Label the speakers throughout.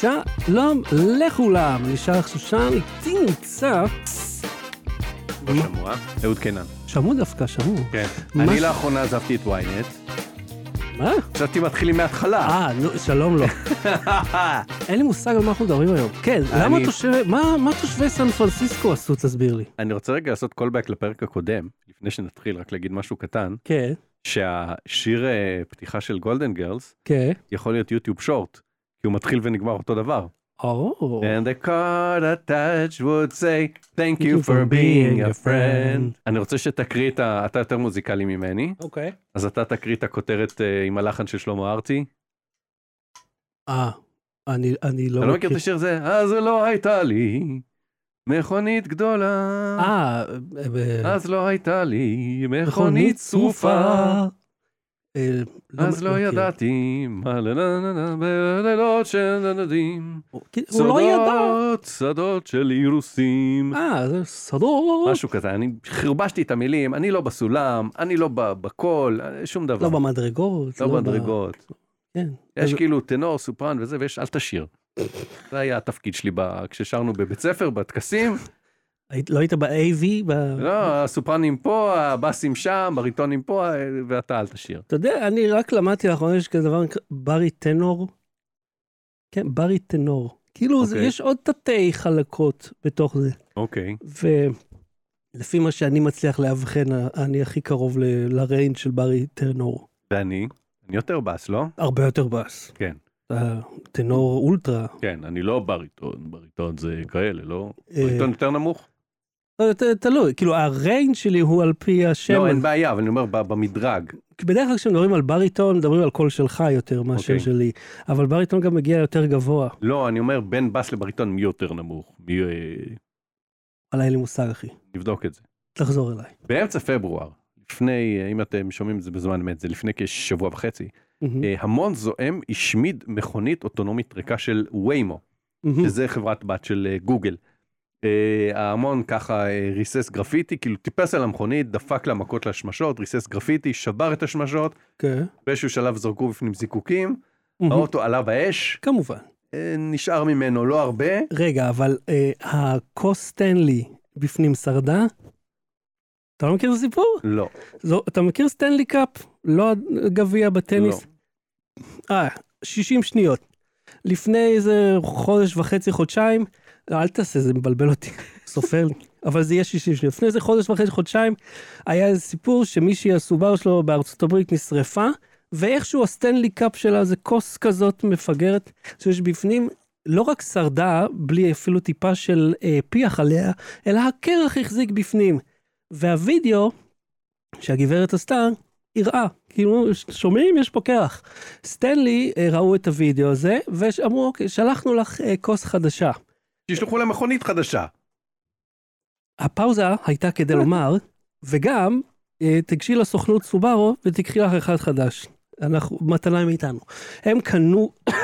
Speaker 1: שלום לכולם, נשאר שושן, איתי נמצא...
Speaker 2: לא שמוע, אהוד קינן.
Speaker 1: שמעו דווקא, שמעו.
Speaker 2: כן.
Speaker 1: מה
Speaker 2: אני
Speaker 1: ש-
Speaker 2: לאחרונה עזבתי את ynet.
Speaker 1: מה?
Speaker 2: חשבתי מתחילים מההתחלה.
Speaker 1: אה, נו, שלום לו.
Speaker 2: אה.
Speaker 1: אין לי מושג על מה אנחנו מדברים היום. כן,
Speaker 2: אני-
Speaker 1: למה תושבי... מה מה תושבי סן פרנסיסקו עשו, תסביר לי.
Speaker 2: אני רוצה רגע לעשות callback לפרק הקודם, לפני שנתחיל, רק להגיד משהו קטן,
Speaker 1: כן,
Speaker 2: שהשיר אה, פתיחה של גולדן גרלס
Speaker 1: כן.
Speaker 2: יכול להיות יוטיוב שורט, כי הוא מתחיל ונגמר אותו דבר.
Speaker 1: או.
Speaker 2: And the card attached would say, Thank you for being a friend. אני רוצה שתקריא את ה... אתה יותר מוזיקלי ממני,
Speaker 1: אוקיי.
Speaker 2: אז אתה תקריא את הכותרת אה, עם הלחן של שלמה ארצי.
Speaker 1: אה, אני אני
Speaker 2: אתה לא
Speaker 1: לא
Speaker 2: מכיר את השיר הזה? אז לא הייתה לי מכונית גדולה.
Speaker 1: אה, אה, ב-
Speaker 2: אז לא הייתה לי מכונית צרופה,
Speaker 1: אה,
Speaker 2: אז לא
Speaker 1: מכיר.
Speaker 2: ידעתי מה לה לה לה לה בלילות של נדדים.
Speaker 1: הוא הוא לא ידע.
Speaker 2: שדות של אירוסים.
Speaker 1: אה, זה סדור.
Speaker 2: משהו כזה, אני חרבשתי את המילים, אני לא בסולם, אני לא ב- בקול, אה, שום דבר.
Speaker 1: לא במדרגות.
Speaker 2: לא
Speaker 1: ב-
Speaker 2: במדרגות.
Speaker 1: כן.
Speaker 2: יש
Speaker 1: אז-
Speaker 2: כאילו טנור, סופרן וזה, ויש אל תשיר. זה היה התפקיד שלי ב- כששרנו בבית ספר, בטקסים,
Speaker 1: היית- לא היית ב-AV? ב-
Speaker 2: לא, הסופרנים פה, הבאסים שם, בריטונים פה, אה, ואתה אל תשיר.
Speaker 1: אתה יודע, אני רק למדתי לאחרונה, יש כזה דבר, נקרא ברי טנור. כן, ברי טנור. כאילו, זה-
Speaker 2: אוקיי.
Speaker 1: יש עוד תתי חלקות בתוך זה.
Speaker 2: אוקיי.
Speaker 1: ולפי מה שאני מצליח לאבחן, אני הכי קרוב ל- לריינג' של ברי טנור.
Speaker 2: ואני? אני יותר בס, לא?
Speaker 1: הרבה יותר בס.
Speaker 2: כן.
Speaker 1: אתה טנור אולטרה.
Speaker 2: כן, אני לא בריטון, בריטון זה כאלה, לא?
Speaker 1: אה,
Speaker 2: בריטון יותר נמוך?
Speaker 1: לא, ת- תלוי, כאילו הריינג' שלי הוא על פי השם.
Speaker 2: לא,
Speaker 1: אז-
Speaker 2: אין בעיה, אבל אני אומר ב- במדרג.
Speaker 1: כי בדרך כלל כשמדברים על בריטון, מדברים על קול שלך יותר מאשר
Speaker 2: אוקיי.
Speaker 1: שלי. אבל בריטון גם מגיע יותר גבוה.
Speaker 2: לא, אני אומר בין בס לבריטון מי יותר נמוך. מי... אה,
Speaker 1: וואלה, אין לי מושג, אחי.
Speaker 2: נבדוק את זה.
Speaker 1: תחזור אליי.
Speaker 2: באמצע פברואר, לפני, אה, אם אתם שומעים את זה בזמן אמת, זה לפני כשבוע וחצי,
Speaker 1: מהמם,
Speaker 2: אה, המון זועם השמיד מכונית אוטונומית ריקה של ויימו.
Speaker 1: מהמם.
Speaker 2: שזה חברת בת של אה, גוגל. אה, ההמון ככה אה, ריסס גרפיטי, כאילו טיפס על המכונית, דפק לה מכות לשמשות, ריסס גרפיטי, שבר את השמשות,
Speaker 1: כן.
Speaker 2: באיזשהו שלב זרקו בפנים זיקוקים,
Speaker 1: מהמם.
Speaker 2: האוטו עלה באש,
Speaker 1: כמובן.
Speaker 2: אה, נשאר ממנו לא הרבה,
Speaker 1: רגע, אבל אה, הכוס סטנלי בפנים שרדה? אתה לא מכיר את הסיפור?
Speaker 2: לא,
Speaker 1: זו, אתה מכיר סטנלי קאפ? לא הגביע
Speaker 2: לא.
Speaker 1: בטניס? אה, 60 שניות. לפני איזה חודש וחצי, חודשיים, לא, אל תעשה, זה מבלבל אותי, סופר לי. אבל זה יהיה 60 שניות. לפני איזה חודש וחצי, חודשיים, היה איזה סיפור שמישהי, הסובר שלו בארצות הברית נשרפה, ואיכשהו הסטנלי קאפ שלה זה כוס כזאת מפגרת, שיש בפנים לא רק שרדה, בלי אפילו טיפה של אה, פיח עליה, אלא הקרח החזיק בפנים. והווידאו שהגברת עשתה, הראה. כאילו, ש- שומעים? יש פה קרח. סטנלי אה, ראו את הוידאו הזה, ואמרו, אוקיי, שלחנו לך אה, כוס חדשה.
Speaker 2: שישלחו להם מכונית חדשה.
Speaker 1: Mm. הפאוזה הייתה כדי לומר, וגם, אה, תיגשי לסוכנות סובארו ותקחי לך אחד חדש. אנחנו, מתנה מאיתנו. הם קנו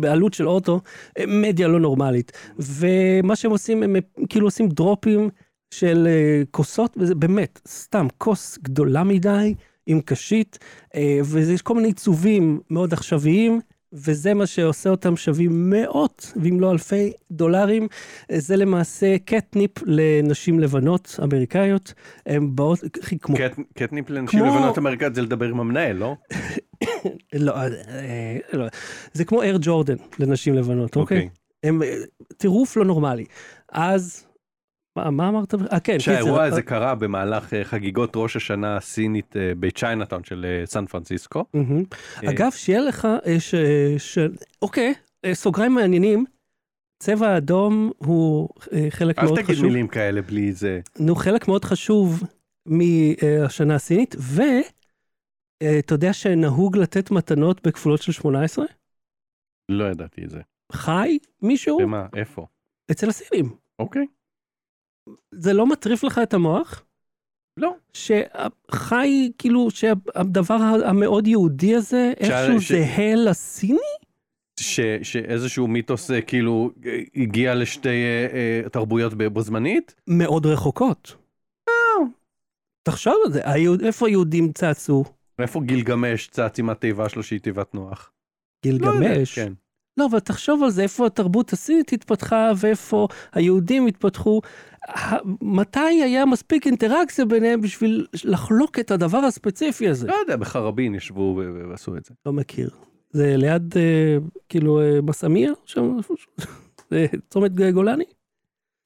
Speaker 1: בעלות של אוטו אה, מדיה לא נורמלית. ומה שהם עושים, הם אה, כאילו עושים דרופים של אה, כוסות, וזה באמת, סתם, כוס גדולה מדי, עם קשית, אה, ויש כל מיני עיצובים מאוד עכשוויים. וזה מה שעושה אותם שווים מאות, ואם לא אלפי דולרים. אה, זה למעשה קטניפ לנשים לבנות אמריקאיות. הן באות, אחי, כמו
Speaker 2: קט- קטניפ לנשים
Speaker 1: כמו- אוקיי.
Speaker 2: לבנות אמריקאית זה לדבר עם המנהל, לא?
Speaker 1: לא, אה, לא, זה כמו אייר ג'ורדן לנשים לבנות, אוקיי?
Speaker 2: אוקיי.
Speaker 1: הם אה, טירוף לא נורמלי. אז, מה מה אמרת? אה, כן,
Speaker 2: שהאירוע
Speaker 1: קיצר,
Speaker 2: הזה קרה במהלך אה, חגיגות ראש השנה הסינית אה, בצ'יינאטאון של אה, סן פרנסיסקו.
Speaker 1: אה, מהמם.
Speaker 2: אה,
Speaker 1: אגב, שיהיה לך, אה, ש... ש... אוקיי, אה, סוגריים מעניינים. צבע אדום הוא אה, חלק מאוד
Speaker 2: אל
Speaker 1: חשוב.
Speaker 2: תגיד מילים כאלה בלי זה.
Speaker 1: נו, חלק מאוד חשוב מהשנה הסינית, ואתה יודע שנהוג לתת מתנות בכפולות של 18?
Speaker 2: לא ידעתי את זה.
Speaker 1: חי מישהו?
Speaker 2: במה? איפה?
Speaker 1: אצל הסינים.
Speaker 2: אוקיי.
Speaker 1: זה לא מטריף לך את המוח?
Speaker 2: לא.
Speaker 1: שחי, כאילו, שהדבר המאוד יהודי הזה, איכשהו
Speaker 2: ש-
Speaker 1: זהה לסיני?
Speaker 2: ש, שאיזשהו מיתוס אה, כאילו אה, הגיע לשתי אה, אה, תרבויות ב- בו זמנית?
Speaker 1: מאוד רחוקות. אה. תחשוב על זה, היהוד- איפה היהודים צצו?
Speaker 2: איפה גילגמש צץ עם התיבה שלו שהיא תיבת נוח? לא יודע,
Speaker 1: גילגמש.
Speaker 2: כן.
Speaker 1: לא, אבל תחשוב על זה, איפה התרבות הסינית התפתחה ואיפה היהודים התפתחו. ה- מתי היה מספיק אינטראקציה ביניהם בשביל לחלוק את הדבר הספציפי הזה?
Speaker 2: לא יודע, בחרבין ישבו ו- ו- ועשו את זה.
Speaker 1: לא מכיר. זה ליד, אה, כאילו, אה, מסמיר? שם, איפה ש- זה צומת גולני?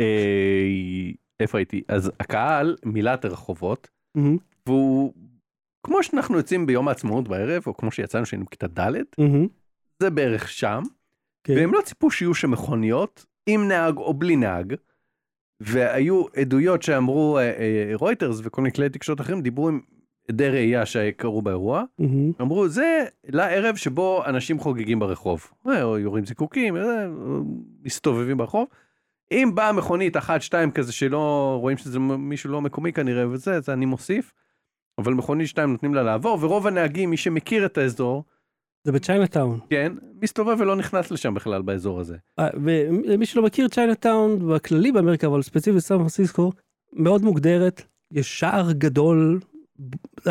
Speaker 2: אה, איפה הייתי? אז הקהל מילא את הרחובות, והוא, כמו שאנחנו יוצאים ביום העצמאות בערב, או כמו שיצאנו שהיינו בכיתה ד', זה בערך שם,
Speaker 1: כן.
Speaker 2: והם לא ציפו שיהיו שם מכוניות, עם נהג או בלי נהג, והיו עדויות שאמרו אה, אה, רויטרס וכל מיני כלי תקשורת אחרים, דיברו עם עדי ראייה שקרו באירוע,
Speaker 1: מהמם.
Speaker 2: אמרו זה לערב שבו אנשים חוגגים ברחוב, אה, או יורים זיקוקים, אה, אה, מסתובבים ברחוב. אם באה מכונית אחת שתיים כזה שלא רואים שזה מ- מישהו לא מקומי כנראה וזה זה אני מוסיף. אבל מכונית שתיים נותנים לה לעבור ורוב הנהגים מי שמכיר את האזור
Speaker 1: זה בצ'יינאטאון.
Speaker 2: כן מסתובב ולא נכנס לשם בכלל באזור הזה.
Speaker 1: אה, ומי שלא מכיר, צ'יינאטאון בכללי באמריקה, אבל ספציפית בסן פרנסיסקו, מאוד מוגדרת, יש שער גדול.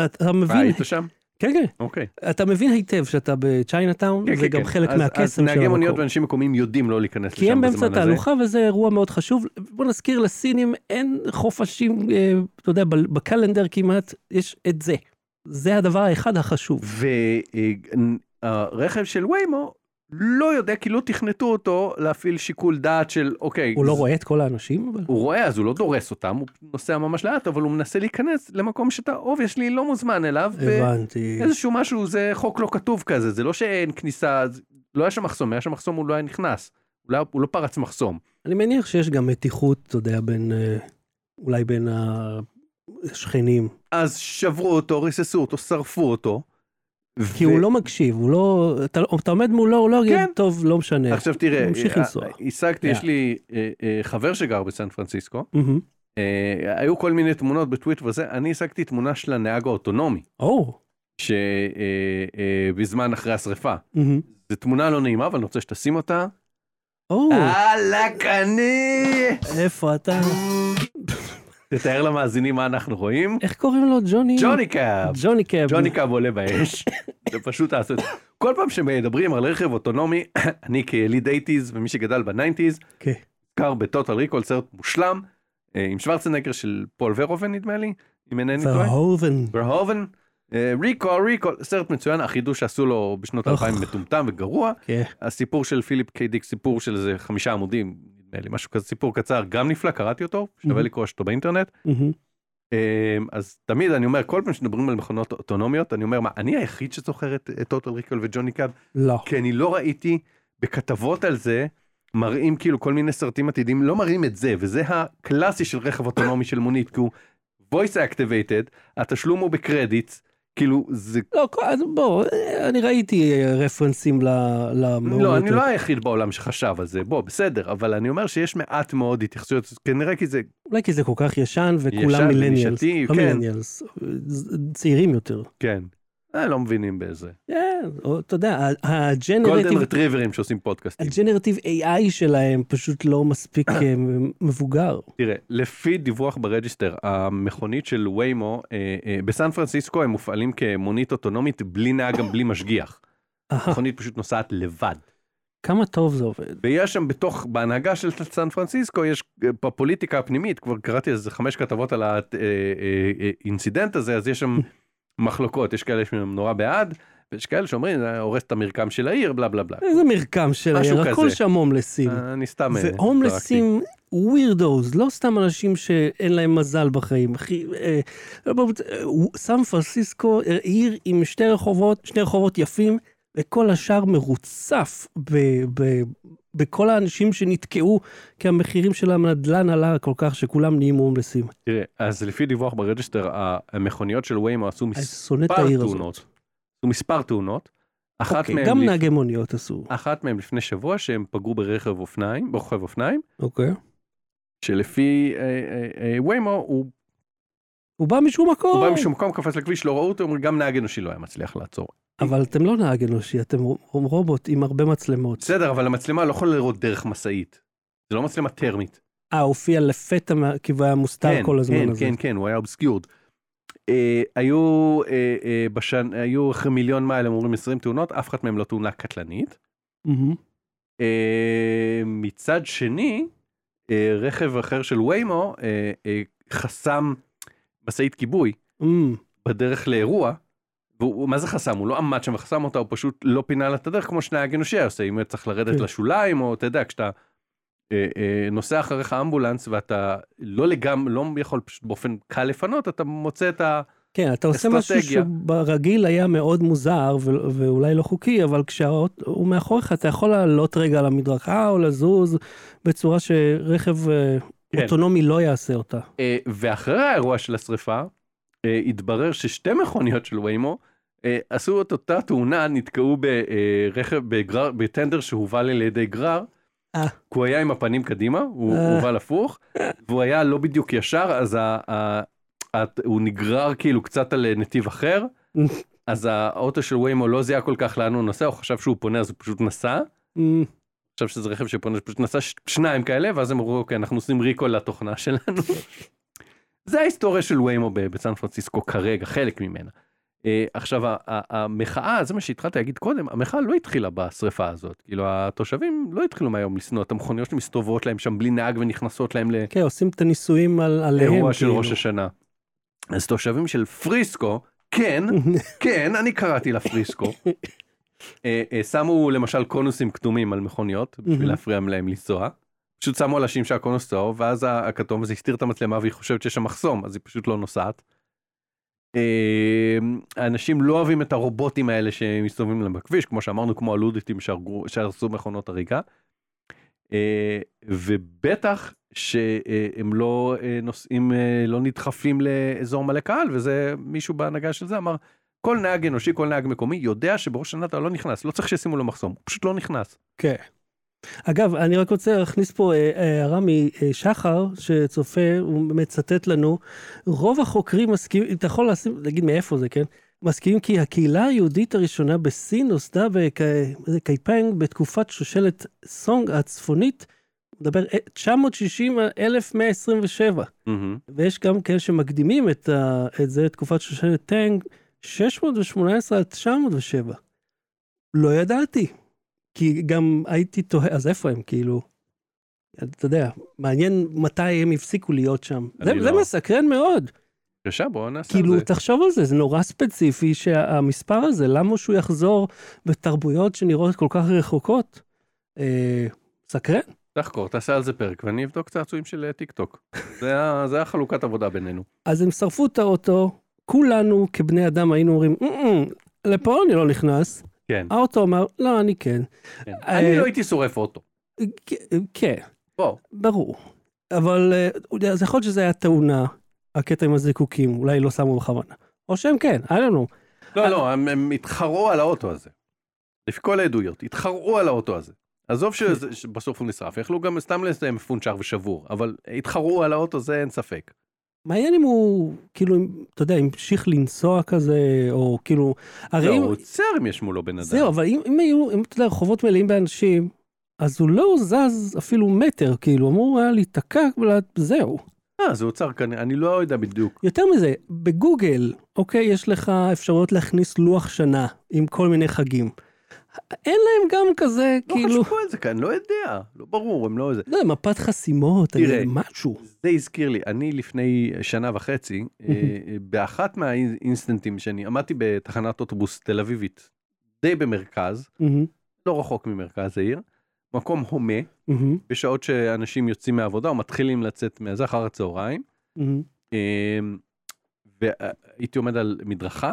Speaker 1: אתה
Speaker 2: מה,
Speaker 1: מבין,
Speaker 2: אה, היית שם?
Speaker 1: כן כן,
Speaker 2: אוקיי.
Speaker 1: אתה מבין היטב שאתה בצ'יינאטאון,
Speaker 2: כן,
Speaker 1: זה
Speaker 2: כן,
Speaker 1: גם
Speaker 2: כן.
Speaker 1: חלק
Speaker 2: אז-
Speaker 1: מהקסם
Speaker 2: אז
Speaker 1: של
Speaker 2: נהגי מוניות
Speaker 1: המקום.
Speaker 2: ואנשים מקומיים יודעים לא להיכנס לשם
Speaker 1: כי הם
Speaker 2: בזמן הזה.
Speaker 1: באמצע תהלוכה וזה אירוע מאוד חשוב. בוא נזכיר לסינים, אין חופשים, אה, אתה יודע, ב- בקלנדר כמעט, יש את זה. זה הדבר האחד החשוב.
Speaker 2: והרכב אה, של ויימו לא יודע כי לא תכנתו אותו להפעיל שיקול דעת של אוקיי.
Speaker 1: הוא לא
Speaker 2: זה-
Speaker 1: רואה את כל האנשים, אבל...
Speaker 2: הוא רואה אז הוא לא דורס אותם הוא נוסע ממש לאט אבל הוא מנסה להיכנס למקום שאתה אובייסלי לא מוזמן אליו.
Speaker 1: הבנתי.
Speaker 2: איזשהו משהו זה חוק לא כתוב כזה זה לא שאין כניסה אז לא היה שם מחסום היה שם מחסום הוא לא היה נכנס. הוא לא- הוא לא פרץ מחסום.
Speaker 1: אני מניח שיש גם מתיחות, אתה יודע, בין, אה, אולי בין השכנים.
Speaker 2: אז שברו אותו ריססו אותו שרפו אותו.
Speaker 1: כי הוא לא מקשיב, הוא לא... אתה, אתה עומד מולו, הוא לא יגיד,
Speaker 2: כן.
Speaker 1: טוב, לא משנה.
Speaker 2: עכשיו תראה,
Speaker 1: ממשיך
Speaker 2: אה,
Speaker 1: לנסוע.
Speaker 2: השגתי,
Speaker 1: Yeah.
Speaker 2: יש לי אה, אה, חבר שגר בסן פרנסיסקו,
Speaker 1: מהמם.
Speaker 2: אה, היו כל מיני תמונות בטוויט וזה, אני השגתי תמונה של הנהג האוטונומי,
Speaker 1: או,
Speaker 2: שבזמן אחרי השריפה.
Speaker 1: מהמם.
Speaker 2: זו תמונה לא נעימה, אבל אני רוצה שתשים אותה.
Speaker 1: או,
Speaker 2: אה. אהלן אני!
Speaker 1: איפה אתה?
Speaker 2: תתאר למאזינים מה אנחנו רואים.
Speaker 1: איך קוראים לו? ג'וני?
Speaker 2: ג'וני קאב!
Speaker 1: ג'וני קאב. כן.
Speaker 2: ג'וני קאב עולה באש. זה פשוט לעשות. כל פעם שמדברים על רכב אוטונומי, אני כיליד 80's ומי שגדל בניינטיז,
Speaker 1: כן.
Speaker 2: קר בטוטל ריקול סרט מושלם אה, עם שוורצנגר של פול ורובן נדמה לי אם אינני טועה.
Speaker 1: וההובן.
Speaker 2: ורהובן. אה, ריקול ריקול סרט מצוין החידוש שעשו לו בשנות
Speaker 1: אוח.
Speaker 2: 2000 מטומטם וגרוע
Speaker 1: כן.
Speaker 2: הסיפור של פיליפ קיי דיק סיפור של איזה חמישה עמודים נדמה לי משהו כזה סיפור קצר גם נפלא קראתי אותו שווה
Speaker 1: Mhm.
Speaker 2: לקרוא אותו באינטרנט
Speaker 1: מהמם.
Speaker 2: אה, אז תמיד אני אומר כל פעם שמדברים על מכונות אוטונומיות אני אומר מה אני היחיד שזוכר את טוטל ריקול וג'וני קאב
Speaker 1: לא.
Speaker 2: כי אני לא ראיתי בכתבות על זה מראים כאילו כל מיני סרטים עתידיים לא מראים את זה וזה הקלאסי של רכב אוטונומי של מונית כי הוא voice activated התשלום הוא בקרדיט כאילו זה
Speaker 1: לא, כל- אז בוא, אה, אני ראיתי אה, רפרנסים ל... למהומות.
Speaker 2: לא אני לא היחיד בעולם שחשב על זה בוא בסדר אבל אני אומר שיש מעט מאוד התייחסויות כנראה כי זה
Speaker 1: אולי כי זה כל כך ישן
Speaker 2: ישן
Speaker 1: וכולם מילניאלס.
Speaker 2: ונישתי,
Speaker 1: לא
Speaker 2: כן.
Speaker 1: מילניאלס, צעירים יותר.
Speaker 2: כן אה, לא מבינים באיזה
Speaker 1: כן, או, אתה יודע, ה-
Speaker 2: גולדן
Speaker 1: הג'נרטיב
Speaker 2: רטריברים שעושים פודקאסטים
Speaker 1: הג'נרטיב AI שלהם פשוט לא מספיק אה, מ- מבוגר.
Speaker 2: תראה, לפי דיווח ברג'יסטר, המכונית של ויימו, אה, אה, בסן פרנסיסקו הם מופעלים כמונית אוטונומית בלי נהג גם בלי משגיח.
Speaker 1: אהה,
Speaker 2: המכונית פשוט נוסעת לבד.
Speaker 1: כמה טוב זה עובד.
Speaker 2: ויש שם בתוך, בהנהגה של סן פרנסיסקו, יש אה, בפוליטיקה הפנימית, כבר קראתי איזה חמש כתבות על אה, האינסידנט הזה, אז יש שם מחלוקות, יש כאלה שהם נורא בעד, ויש כאלה שאומרים, זה הורס את המרקם של העיר, בלה בלה בלה.
Speaker 1: איזה מרקם של
Speaker 2: משהו
Speaker 1: העיר, הכל
Speaker 2: כזה.
Speaker 1: שם הומלסים.
Speaker 2: אה, אני סתם... אה, זרקתי.
Speaker 1: והומלסים ווירדוז, לא סתם אנשים שאין להם מזל בחיים. אחי, אה, לא, בוא, אה, סן פרנסיסקו אה, עיר עם שתי רחובות, שני רחובות יפים, וכל השאר מרוצף ב- ב- בכל האנשים שנתקעו, כי המחירים של הנדלן עלה כל כך שכולם נהיים הומלסים.
Speaker 2: תראה, אז לפי דיווח ברג'יסטר, ה- המכוניות של ויימו עשו
Speaker 1: אני
Speaker 2: מס...
Speaker 1: שונא את
Speaker 2: מספר
Speaker 1: העיר
Speaker 2: תאונות.
Speaker 1: הזאת.
Speaker 2: עשו מספר תאונות. אחת
Speaker 1: אוקיי,
Speaker 2: מהן אה.
Speaker 1: גם
Speaker 2: לפ-
Speaker 1: נהגי מוניות עשו.
Speaker 2: אחת מהם לפני שבוע שהם פגעו ברכב אופניים, ברוכב אופניים,
Speaker 1: אוקיי.
Speaker 2: שלפי אה, אה, אה, ויימו הוא
Speaker 1: הוא בא משום מקום.
Speaker 2: הוא בא משום מקום, קפץ לכביש, לא ראו אותו, אומרים, גם נהג אנושי לא היה מצליח לעצור.
Speaker 1: אבל אתם לא נהג אנושי, אתם רובוט עם הרבה מצלמות.
Speaker 2: בסדר, אבל המצלמה לא יכולה לראות דרך משאית. זה לא מצלמה טרמית.
Speaker 1: אה, הופיע לפתע, מה- כי הוא היה מוסתר
Speaker 2: כן,
Speaker 1: כל הזמן
Speaker 2: כן,
Speaker 1: הזה.
Speaker 2: כן, כן, הוא היה אובסקיורד. אה, היו אה, אה, בשן, היו אחרי מיליון מייל, הם אומרים 20 תאונות, אף אחת מהן לא תאונה קטלנית.
Speaker 1: מהמם.
Speaker 2: אה, מצד שני, אה, רכב אחר של ויימו אה, אה, חסם משאית כיבוי
Speaker 1: אמ,
Speaker 2: בדרך לאירוע. והוא, מה זה חסם? הוא לא עמד שם וחסם אותה, הוא פשוט לא פינה לה את הדרך כמו שנהג אנושי היה עושה, אם צריך לרדת
Speaker 1: כן.
Speaker 2: לשוליים, או אתה יודע, כשאתה אה, אה, נוסע אחריך אמבולנס ואתה לא לגמרי, לא יכול פשוט באופן קל לפנות, אתה מוצא את ה...
Speaker 1: כן, אתה עושה משהו
Speaker 2: אסטרטגיה.
Speaker 1: שברגיל היה מאוד מוזר ו- ואולי לא חוקי, אבל כשהוא מאחוריך אתה יכול לעלות רגע על המדרכה או לזוז בצורה שרכב אה,
Speaker 2: כן.
Speaker 1: אוטונומי לא יעשה אותה.
Speaker 2: אה, ואחרי האירוע של השריפה, אה, התברר ששתי מכוניות של ויימו אה, עשו את אותה תאונה, נתקעו ברכב, בגרר, בטנדר שהובל על ידי גרר.
Speaker 1: אה.
Speaker 2: כי הוא היה עם הפנים קדימה, הוא
Speaker 1: אה.
Speaker 2: הובל הפוך, והוא היה לא בדיוק ישר, אז ה, ה, ה, הוא נגרר כאילו קצת על אה, נתיב אחר.
Speaker 1: אה.
Speaker 2: אז האוטו של ויימו לא זיהה כל כך לאן הוא נוסע, הוא חשב שהוא פונה אז הוא פשוט נסע.
Speaker 1: אמ,
Speaker 2: חשב שזה רכב שפונה, שפשוט נסע ש- שניים כאלה, ואז הם אמרו, אוקיי, אנחנו עושים ריקול לתוכנה שלנו. זה ההיסטוריה של ויימו ב- בסן פרנסיסקו כרגע, חלק ממנה. אה, עכשיו, ה- ה- המחאה, זה מה שהתחלתי להגיד קודם, המחאה לא התחילה בשריפה הזאת. כאילו, התושבים לא התחילו מהיום לשנוא את המכוניות שמסתובבות להם שם בלי נהג ונכנסות להם ל...
Speaker 1: כן, עושים את הניסויים על- עליהם.
Speaker 2: אירוע של
Speaker 1: כאילו.
Speaker 2: ראש השנה. אז תושבים של פריסקו, כן, כן, אני קראתי לה פריסקו, אה, אה, שמו למשל קונוסים כתומים על מכוניות
Speaker 1: מהמם.
Speaker 2: בשביל להפריע להם לנסוע. פשוט שמו על השמשה קונוס צהוב, ואז ה- הכתום הזה הסתיר את המצלמה והיא חושבת שיש שם מחסום, אז היא פשוט לא נוסעת. אה, האנשים לא אוהבים את הרובוטים האלה שמסתובבים להם בכביש, כמו שאמרנו, כמו הלודיטים שהרגו- שהרסו מכונות הריגה. אה, ובטח שהם לא אה, נוסעים, אה, לא נדחפים לאזור מלא קהל, וזה מישהו בהנהגה של זה אמר, כל נהג אנושי, כל נהג מקומי, יודע שבראש השנה אתה לא נכנס, לא צריך שישימו לו מחסום, הוא פשוט לא נכנס.
Speaker 1: כן. אגב, אני רק רוצה להכניס פה אה, אה, הערה משחר, שצופה, הוא מצטט לנו, רוב החוקרים מסכימים, אתה יכול לשים, להגיד מאיפה זה, כן? מסכימים כי הקהילה היהודית הראשונה בסין נוסדה בקייפנג בתקופת שושלת סונג הצפונית, מדבר 960 127, ויש גם כאלה שמקדימים את, ה, את זה, תקופת שושלת טנג, 618 עד 907. לא ידעתי, כי גם הייתי תוהה, אז איפה הם, כאילו? אתה יודע, מעניין מתי הם הפסיקו להיות שם.
Speaker 2: אני
Speaker 1: זה,
Speaker 2: לא.
Speaker 1: זה מסקרן מאוד.
Speaker 2: בבקשה, בואו נעשה
Speaker 1: כאילו,
Speaker 2: את זה.
Speaker 1: תחשוב על זה, זה נורא ספציפי שהמספר הזה, למה שהוא יחזור בתרבויות שנראות כל כך רחוקות? אה, סקרן.
Speaker 2: תחקור, תעשה על זה פרק, ואני אבדוק צעצועים של אה, טיק טוק. זה ה- זה החלוקת עבודה בינינו.
Speaker 1: אז הם שרפו את האוטו, כולנו כבני אדם היינו אומרים, "מ-מ, לפה אני לא נכנס.
Speaker 2: כן,
Speaker 1: האוטו אמר, לא, אני כן.
Speaker 2: כן.
Speaker 1: אה,
Speaker 2: אני לא הייתי שורף אוטו.
Speaker 1: כ- כן,
Speaker 2: בוא,
Speaker 1: ברור. אבל אה, אז יכול להיות שזה היה תאונה, הקטע עם הזיקוקים, אולי לא שמו בכוונה. או שהם כן, I don't know.
Speaker 2: לא, לא, הם- הם התחרו על האוטו הזה. לפי כל העדויות, התחרו על האוטו הזה. עזוב שזה- שבסוף הוא נשרף, יכלו גם סתם לסיים מפונצ'ר ושבור, אבל התחרו על האוטו, זה אין ספק.
Speaker 1: מעניין אם הוא, כאילו, אם- אתה יודע, המשיך לנסוע כזה, או כאילו, הרי
Speaker 2: לא,
Speaker 1: אם...
Speaker 2: הוא עוצר אם יש מולו בן אדם.
Speaker 1: זהו, אבל אם, אם היו, אם אתה יודע, רחובות מלאים באנשים, אז הוא לא זז אפילו מטר, כאילו, אמור היה להיתקע, זהו.
Speaker 2: אה, זה אוצר כנראה, אני לא יודע בדיוק.
Speaker 1: יותר מזה, בגוגל, אוקיי, יש לך אפשרויות להכניס לוח שנה עם כל מיני חגים. אין להם גם כזה,
Speaker 2: לא
Speaker 1: כאילו,
Speaker 2: חשבו על זה כאן, לא יודע, לא ברור, הם לא... זה.
Speaker 1: לא, מפת חסימות,
Speaker 2: תראה.
Speaker 1: אני- משהו.
Speaker 2: זה הזכיר לי, אני לפני שנה וחצי, אה, באחת מהאינסטנטים שאני עמדתי בתחנת אוטובוס תל אביבית, די במרכז,
Speaker 1: מהמם,
Speaker 2: לא רחוק ממרכז העיר, מקום הומה,
Speaker 1: מהמם,
Speaker 2: בשעות שאנשים יוצאים מהעבודה או מתחילים לצאת מזה אחר הצהריים.
Speaker 1: מהמם.
Speaker 2: אמ, והייתי עומד על מדרכה,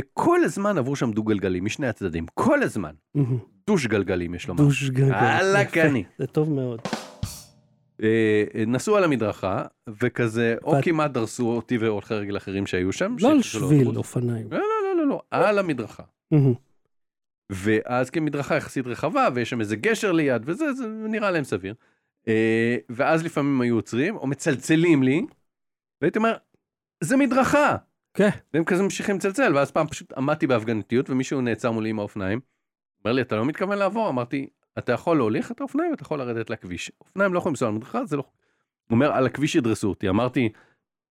Speaker 2: וכל הזמן עברו שם דו גלגלים משני הצדדים, כל הזמן.
Speaker 1: מהמם.
Speaker 2: דוש גלגלים יש לומר.
Speaker 1: דוש גגל.
Speaker 2: אללה כן.
Speaker 1: יפה.
Speaker 2: קני.
Speaker 1: זה טוב מאוד.
Speaker 2: אה, נסעו על המדרכה, וכזה, או
Speaker 1: ואת-
Speaker 2: כמעט דרסו אותי והולכי רגל אחרים שהיו שם.
Speaker 1: לא על
Speaker 2: שהתחילו
Speaker 1: שביל
Speaker 2: לאוטובוס.
Speaker 1: אופניים.
Speaker 2: לא, לא, לא, לא, לא, על המדרכה.
Speaker 1: מהמם.
Speaker 2: ואז כמדרכה יחסית רחבה, ויש שם איזה גשר ליד, וזה זה נראה להם סביר. אה, ואז לפעמים היו עוצרים, או מצלצלים לי, והייתי אומר, זה מדרכה.
Speaker 1: כן.
Speaker 2: והם כזה ממשיכים לצלצל, ואז פעם פשוט עמדתי בהפגנתיות, ומישהו נעצר מולי עם האופניים. אומר לי, אתה לא מתכוון לעבור? אמרתי, אתה יכול להוליך את האופניים, אתה יכול לרדת לכביש. אופניים לא יכולים לנסוע על מדרכה, זה לא... הוא אומר, על הכביש ידרסו אותי. אמרתי,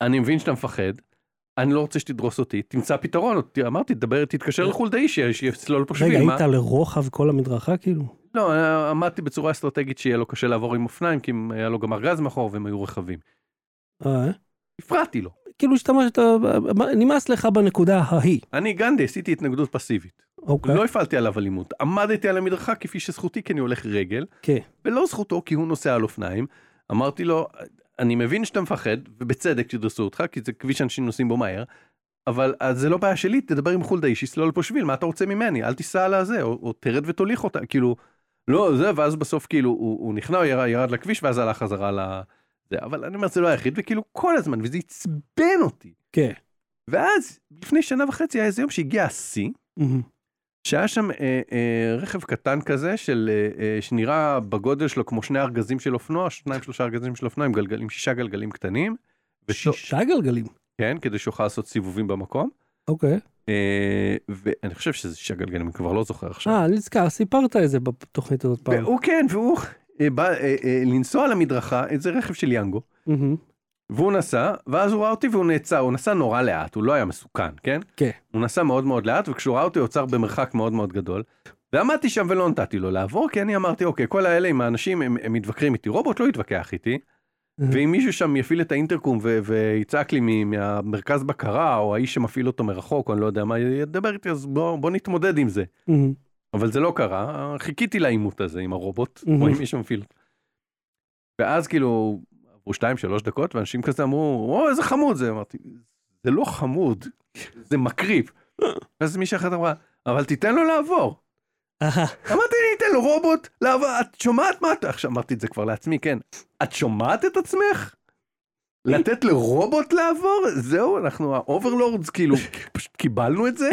Speaker 2: אני מבין שאתה מפחד, אני לא רוצה שתדרוס אותי, תמצא פתרון. אמרתי, תדבר, תתקשר לחולדאי, ש- שיסלול פה שביל.
Speaker 1: רגע,
Speaker 2: מה?"
Speaker 1: היית לרוחב כל המדרכה, כאילו?
Speaker 2: לא, עמדתי בצורה אסטרטגית שיהיה לו קשה לעבור עם אופניים, כי אם היה לו גם ארגז מאחור והם היו רחבים.
Speaker 1: אה,
Speaker 2: הפרעתי לו.
Speaker 1: כאילו השתמשת, נמאס לך בנקודה ההיא.
Speaker 2: אני גנדי עשיתי התנגדות פסיבית.
Speaker 1: אוקיי.
Speaker 2: לא הפעלתי עליו אלימות. עמדתי על המדרכה כפי שזכותי כי אני הולך רגל,
Speaker 1: כן.
Speaker 2: ולא זכותו כי הוא נוסע על אופניים. אמרתי לו, אני מבין שאתה מפחד, ובצדק שדרסו אותך, כי זה כביש שאנשים נוסעים בו מהר, אבל אז זה לא בעיה שלי, תדבר עם חולדאי שיסלול פה שביל, מה אתה רוצה ממני? אל תיסע על הזה, או, או תרד ותוליך אותה, כאילו, לא, זה, ואז בסוף כאילו, הוא, הוא נכנע, הוא ירד, ירד לכביש, ואז הלך חזרה ל... זה, אבל אני אומר, זה לא היחיד, וכאילו, כל הזמן, וזה עצבן אותי.
Speaker 1: כן.
Speaker 2: ואז, לפני שנה וחצי היה איזה יום שהגיע השיא,
Speaker 1: מהמם.
Speaker 2: שהיה שם אה, אה, רכב קטן כזה של אה, אה, שנראה בגודל שלו כמו שני ארגזים של אופנוע, שניים שלושה ארגזים של אופנוע עם גלגלים, שישה גלגלים קטנים. ושו-
Speaker 1: שישה גלגלים.
Speaker 2: כן, כדי שיוכל לעשות סיבובים במקום.
Speaker 1: אוקיי.
Speaker 2: אה, ואני חושב שזה שישה גלגלים, אני כבר לא זוכר עכשיו.
Speaker 1: אה, נזכר, סיפרת את זה בתוכנית הזאת פעם.
Speaker 2: והוא כן, והוא אה, בא אה, אה, לנסוע על המדרכה, איזה רכב של יאנגו,
Speaker 1: מהמם.
Speaker 2: והוא נסע, ואז הוא ראה אותי והוא נעצר, הוא נסע נורא לאט, הוא לא היה מסוכן, כן?
Speaker 1: כן.
Speaker 2: הוא נסע מאוד מאוד לאט, וכשהוא ראה אותי הוא עצר במרחק מאוד מאוד גדול. ועמדתי שם ולא נתתי לו לעבור, כי אני אמרתי, אוקיי, כל האלה עם האנשים, הם, הם מתווכחים איתי, רובוט לא יתווכח איתי,
Speaker 1: Mm-hmm.
Speaker 2: ואם מישהו שם יפעיל את האינטרקום ו- ויצעק לי מ- מהמרכז בקרה, או האיש שמפעיל אותו מרחוק, או אני לא יודע מה, ידבר איתי, אז בוא, בוא נתמודד עם זה.
Speaker 1: מהמם.
Speaker 2: אבל זה לא קרה, חיכיתי לעימות הזה עם הרובוט,
Speaker 1: מהמם.
Speaker 2: או עם מישהו מפעיל. ואז כאילו, עברו שתיים, שלוש דקות, ואנשים כזה אמרו, או, איזה חמוד זה, אמרתי, זה לא חמוד, זה מקריב. ואז מישהי אחת אמרה, אבל תיתן לו לעבור.
Speaker 1: אהה.
Speaker 2: אמרתי, אני אתן לו רובוט לעבור, את שומעת מה אתה... עכשיו, אמרתי את זה כבר לעצמי, כן. את שומעת את עצמך? לתת לרובוט לעבור? זהו, אנחנו האוברלורדס, כאילו, פשוט קיבלנו את זה?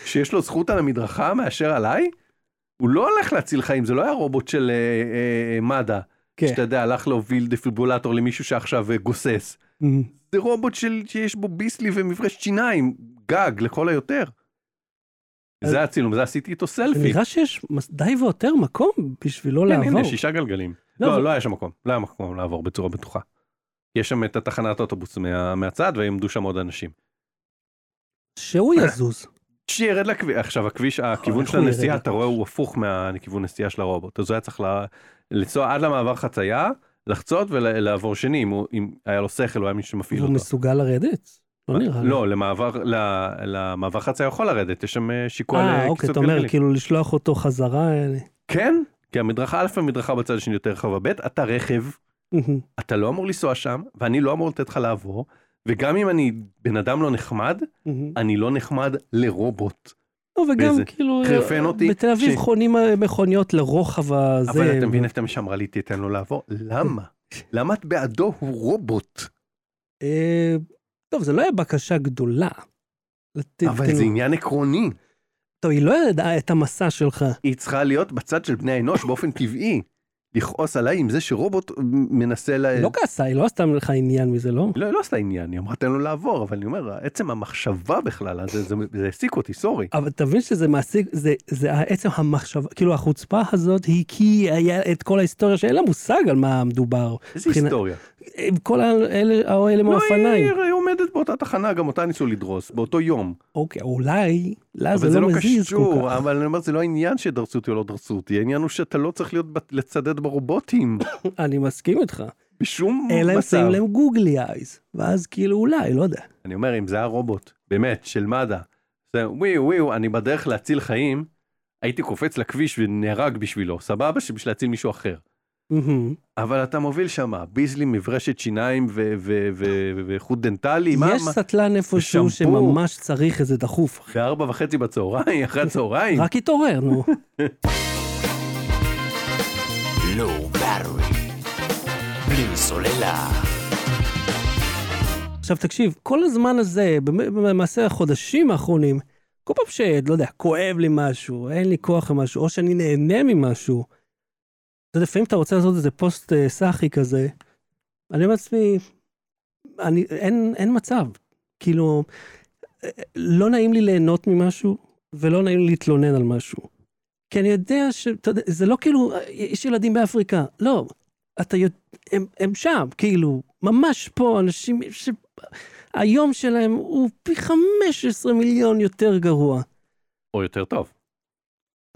Speaker 2: שיש לו זכות על המדרכה מאשר עליי? הוא לא הולך להציל חיים, זה לא היה רובוט של אה, אה, מד"א, שאתה
Speaker 1: כן.
Speaker 2: יודע, הלך להוביל דפיבולטור למישהו שעכשיו אה, גוסס.
Speaker 1: מהמם.
Speaker 2: זה רובוט של, שיש בו ביסלי ומפרש שיניים, גג לכל היותר. זה הצילום, זה עשיתי איתו סלפי.
Speaker 1: נראה שיש מס- די ויותר מקום בשביל לא
Speaker 2: כן, הנה,
Speaker 1: לעבור.
Speaker 2: שישה גלגלים.
Speaker 1: לא, אבל-
Speaker 2: לא, לא היה שם מקום, לא היה מקום לעבור בצורה בטוחה. יש שם את התחנת אוטובוס מה- מהצד ויעמדו שם עוד אנשים.
Speaker 1: שהוא יזוז.
Speaker 2: שירד לכביש, עכשיו הכביש, הכיוון
Speaker 1: אה, איך
Speaker 2: של
Speaker 1: הוא
Speaker 2: הנסיעה,
Speaker 1: ירד
Speaker 2: אתה רואה, הוא הפוך מהכיוון נסיעה של הרובוט. אז הוא היה צריך ל- לנסוע עד למעבר חצייה, לחצות ולעבור שני, אם הוא- אם היה לו שכל, הוא היה מישהו שמפעיל
Speaker 1: הוא
Speaker 2: אותו.
Speaker 1: מסוגל לרדת? לא נראה לי.
Speaker 2: לא, למעבר, ל- למעבר חצייה יכול לרדת, יש שם אה, שיקוע
Speaker 1: אה,
Speaker 2: לכיסאות
Speaker 1: אוקיי, אתה
Speaker 2: גלגלים.
Speaker 1: אומר כאילו לשלוח אותו חזרה. אה,
Speaker 2: כן, כי המדרכה א' והמדרכה בצד השני יותר רחבה, ב', אתה רכב,
Speaker 1: מהמם.
Speaker 2: אתה לא אמור לנסוע שם, ואני לא אמור לתת לך לעבור, וגם אם אני בן אדם לא נחמד,
Speaker 1: מהמם.
Speaker 2: אני לא נחמד לרובוט.
Speaker 1: לא, וגם
Speaker 2: וזה
Speaker 1: כאילו,
Speaker 2: חרפן אותי
Speaker 1: בתל אביב
Speaker 2: ש-
Speaker 1: חונים אה, מכוניות לרוחב הזה.
Speaker 2: אבל אתה מבין איך אתה משמרה לי, תיתן לו לעבור? למה? למה את בעדו הוא רובוט?
Speaker 1: אה, טוב, זה לא היה בקשה גדולה. לתת-
Speaker 2: אבל זה עניין עקרוני.
Speaker 1: טוב, היא לא ידעה את המסע שלך.
Speaker 2: היא צריכה להיות בצד של בני האנוש באופן טבעי. לכעוס עליי עם זה שרובוט מנסה ל...
Speaker 1: היא לא כעסה, היא לא עשתה לך עניין מזה, לא?
Speaker 2: לא, היא לא עשתה עניין, היא אמרה תן לו לעבור, אבל אני אומר, עצם המחשבה בכלל, אז זה- זה זה העסיק אותי, סורי.
Speaker 1: אבל תבין שזה מעסיק, זה, זה עצם המחשבה, כאילו החוצפה הזאת היא כי היה את כל ההיסטוריה שאין לה מושג על מה מדובר.
Speaker 2: איזה
Speaker 1: מבחינה-
Speaker 2: היסטוריה.
Speaker 1: עם כל האלה, האלה מהאופניים.
Speaker 2: לא, היא- היא עומדת באותה תחנה, גם אותה ניסו לדרוס, באותו יום.
Speaker 1: אוקיי, אולי, לה
Speaker 2: אבל
Speaker 1: זה לא מזיז כל כך.
Speaker 2: אבל אני אומר, זה לא העניין שדרסו אותי או לא דרסו אותי, העניין הוא שאתה לא צריך להיות בת- לצדד ברובוטים
Speaker 1: אני מסכים איתך.
Speaker 2: בשום
Speaker 1: אלא הם שמים
Speaker 2: Mm, מצב.
Speaker 1: להם גוגלי אייז, ואז כאילו אולי, לא יודע.
Speaker 2: אני אומר, אם זה היה רובוט, באמת, של מד"א, זה וויו וויו, אני בדרך להציל חיים, הייתי קופץ לכביש ונהרג בשבילו, סבבה? שבשביל להציל מישהו אחר.
Speaker 1: מהמם.
Speaker 2: אבל אתה מוביל שם, ביזלי מברשת שיניים ו- ו- ו- ו- וחוט דנטלי, מה?
Speaker 1: יש
Speaker 2: מה-
Speaker 1: סטלן איפשהו
Speaker 2: שמפו.
Speaker 1: שממש צריך איזה דחוף.
Speaker 2: בארבע וחצי בצהריים, אחרי הצהריים.
Speaker 1: רק התעורר, נו.
Speaker 3: Low battery. לא בלי סוללה.
Speaker 1: עכשיו תקשיב, כל הזמן הזה, במ- במעשה החודשים האחרונים, כל פעם שלא יודע, כואב לי משהו, אין לי כוח למשהו, או שאני נהנה ממשהו, אתה יודע, לפעמים אתה רוצה לעשות איזה פוסט אה, סאחי כזה, אני אומר לעצמי, אני, אין, אין מצב. כאילו, אה, לא נעים לי ליהנות ממשהו, ולא נעים לי להתלונן על משהו. כי אני יודע ש... אתה יודע, זה לא כאילו, אה, יש ילדים באפריקה, לא. אתה יודע, הם, הם שם, כאילו, ממש פה, אנשים ש... היום שלהם הוא פי 15 מיליון יותר גרוע.
Speaker 2: או יותר טוב.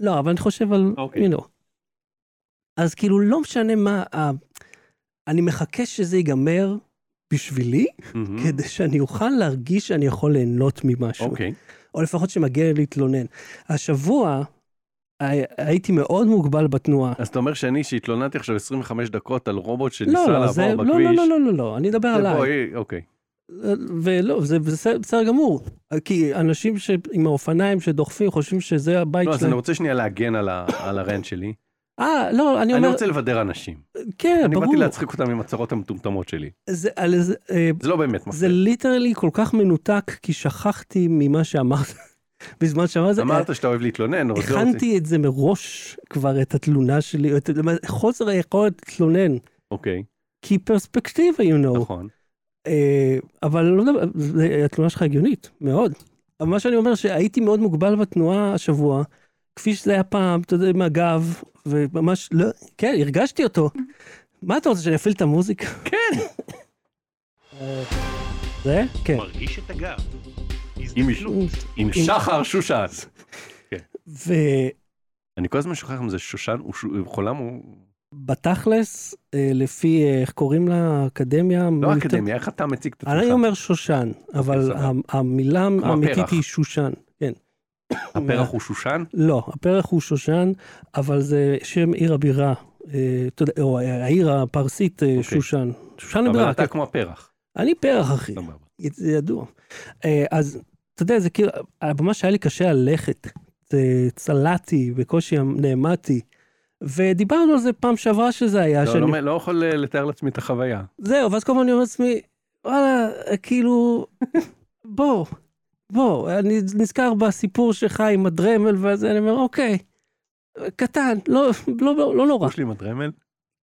Speaker 1: לא, אבל אני חושב על...
Speaker 2: אוקיי.
Speaker 1: You know. אז כאילו, לא משנה מה... ה... אני מחכה שזה ייגמר בשבילי,
Speaker 2: מהמם.
Speaker 1: כדי שאני אוכל להרגיש שאני יכול ליהנות ממשהו.
Speaker 2: אוקיי.
Speaker 1: או לפחות שמגיע לי להתלונן. השבוע הי- הייתי מאוד מוגבל בתנועה.
Speaker 2: אז אתה אומר שאני, שהתלוננתי עכשיו 25 דקות על רובוט
Speaker 1: לא,
Speaker 2: שניסה
Speaker 1: לא, זה,
Speaker 2: לעבור
Speaker 1: לא,
Speaker 2: בכביש.
Speaker 1: לא, לא, לא, לא, לא, אני אדבר
Speaker 2: זה פה,
Speaker 1: עליי.
Speaker 2: אה, אוקיי.
Speaker 1: ולא, זה בסדר בסדר גמור. כי אנשים ש... עם האופניים שדוחפים חושבים שזה הבית
Speaker 2: לא, אז
Speaker 1: שלהם.
Speaker 2: אני רוצה שנייה להגן על ה- על הרנט שלי.
Speaker 1: אה, לא, אני
Speaker 2: אני
Speaker 1: אומר,
Speaker 2: רוצה לבדר אנשים.
Speaker 1: כן,
Speaker 2: אני
Speaker 1: ברור.
Speaker 2: באתי להצחיק אותם עם הצהרות המטומטמות שלי.
Speaker 1: זה, על זה, אה,
Speaker 2: זה לא באמת
Speaker 1: זה
Speaker 2: מפריע.
Speaker 1: ליטרלי כל כך מנותק, כי שכחתי ממה שאמרת בזמן שאמרת. זה.
Speaker 2: אמרת שאתה אוהב להתלונן, אבל זה לא רציתי.
Speaker 1: הכנתי את זה מראש כבר, את התלונה שלי, את חוסר היכולת להתלונן,
Speaker 2: אוקיי,
Speaker 1: כי פרספקטיבה, you know.
Speaker 2: נכון.
Speaker 1: אה, אבל לא מדבר, זה- התלונה שלך הגיונית, מאוד. אבל מה שאני אומר, שהייתי מאוד מוגבל בתנועה השבוע, כפי שזה היה פעם, אתה יודע, עם הגב, וממש, לא, כן, הרגשתי אותו. מה אתה רוצה, שאני אפעיל את המוזיקה?
Speaker 2: כן.
Speaker 1: אה, זה? כן.
Speaker 4: מרגיש את הגב.
Speaker 2: עם
Speaker 4: הזדקנות.
Speaker 2: עם שחר שושן.
Speaker 1: ובתכלס,
Speaker 2: אני כל הזמן שוכח אם זה שושן, הוא ש- הוא חולם, הוא...
Speaker 1: אה, לפי, אה, איך קוראים לה, אקדמיה?
Speaker 2: לא
Speaker 1: מיליטר-
Speaker 2: אקדמיה, איך אתה מציג את
Speaker 1: אני
Speaker 2: עצמך?
Speaker 1: אומר שושן, אבל
Speaker 2: סבבה.
Speaker 1: ה- המילה האמיתית
Speaker 2: הפרח.
Speaker 1: היא שושן. כן.
Speaker 2: הפרח הוא שושן?
Speaker 1: לא, הפרח הוא שושן, אבל זה שם עיר הבירה, אה, אתה יודע, או העיר הפרסית אה,
Speaker 2: אוקיי.
Speaker 1: שושן. שושן
Speaker 2: אבל
Speaker 1: הבירה,
Speaker 2: אתה
Speaker 1: כן.
Speaker 2: כמו הפרח.
Speaker 1: אני פרח, אחי,
Speaker 2: סבבה.
Speaker 1: זה ידוע. אה, אז, אתה יודע, זה כאילו, ממש היה לי קשה ללכת. אה, צלעתי, בקושי נעמדתי. ודיברנו על זה פעם שעברה שזה היה,
Speaker 2: לא,
Speaker 1: שאני-
Speaker 2: לא- לא יכול אה, לתאר לעצמי את החוויה.
Speaker 1: זהו, ואז כל פעם אני אומר לעצמי, וואלה, כאילו, בוא, בוא, אני נזכר בסיפור שלך עם הדרמל, ואז אני אומר, אוקיי, קטן, לא, לא, לא, לא נורא.
Speaker 2: יש לי מדרמל?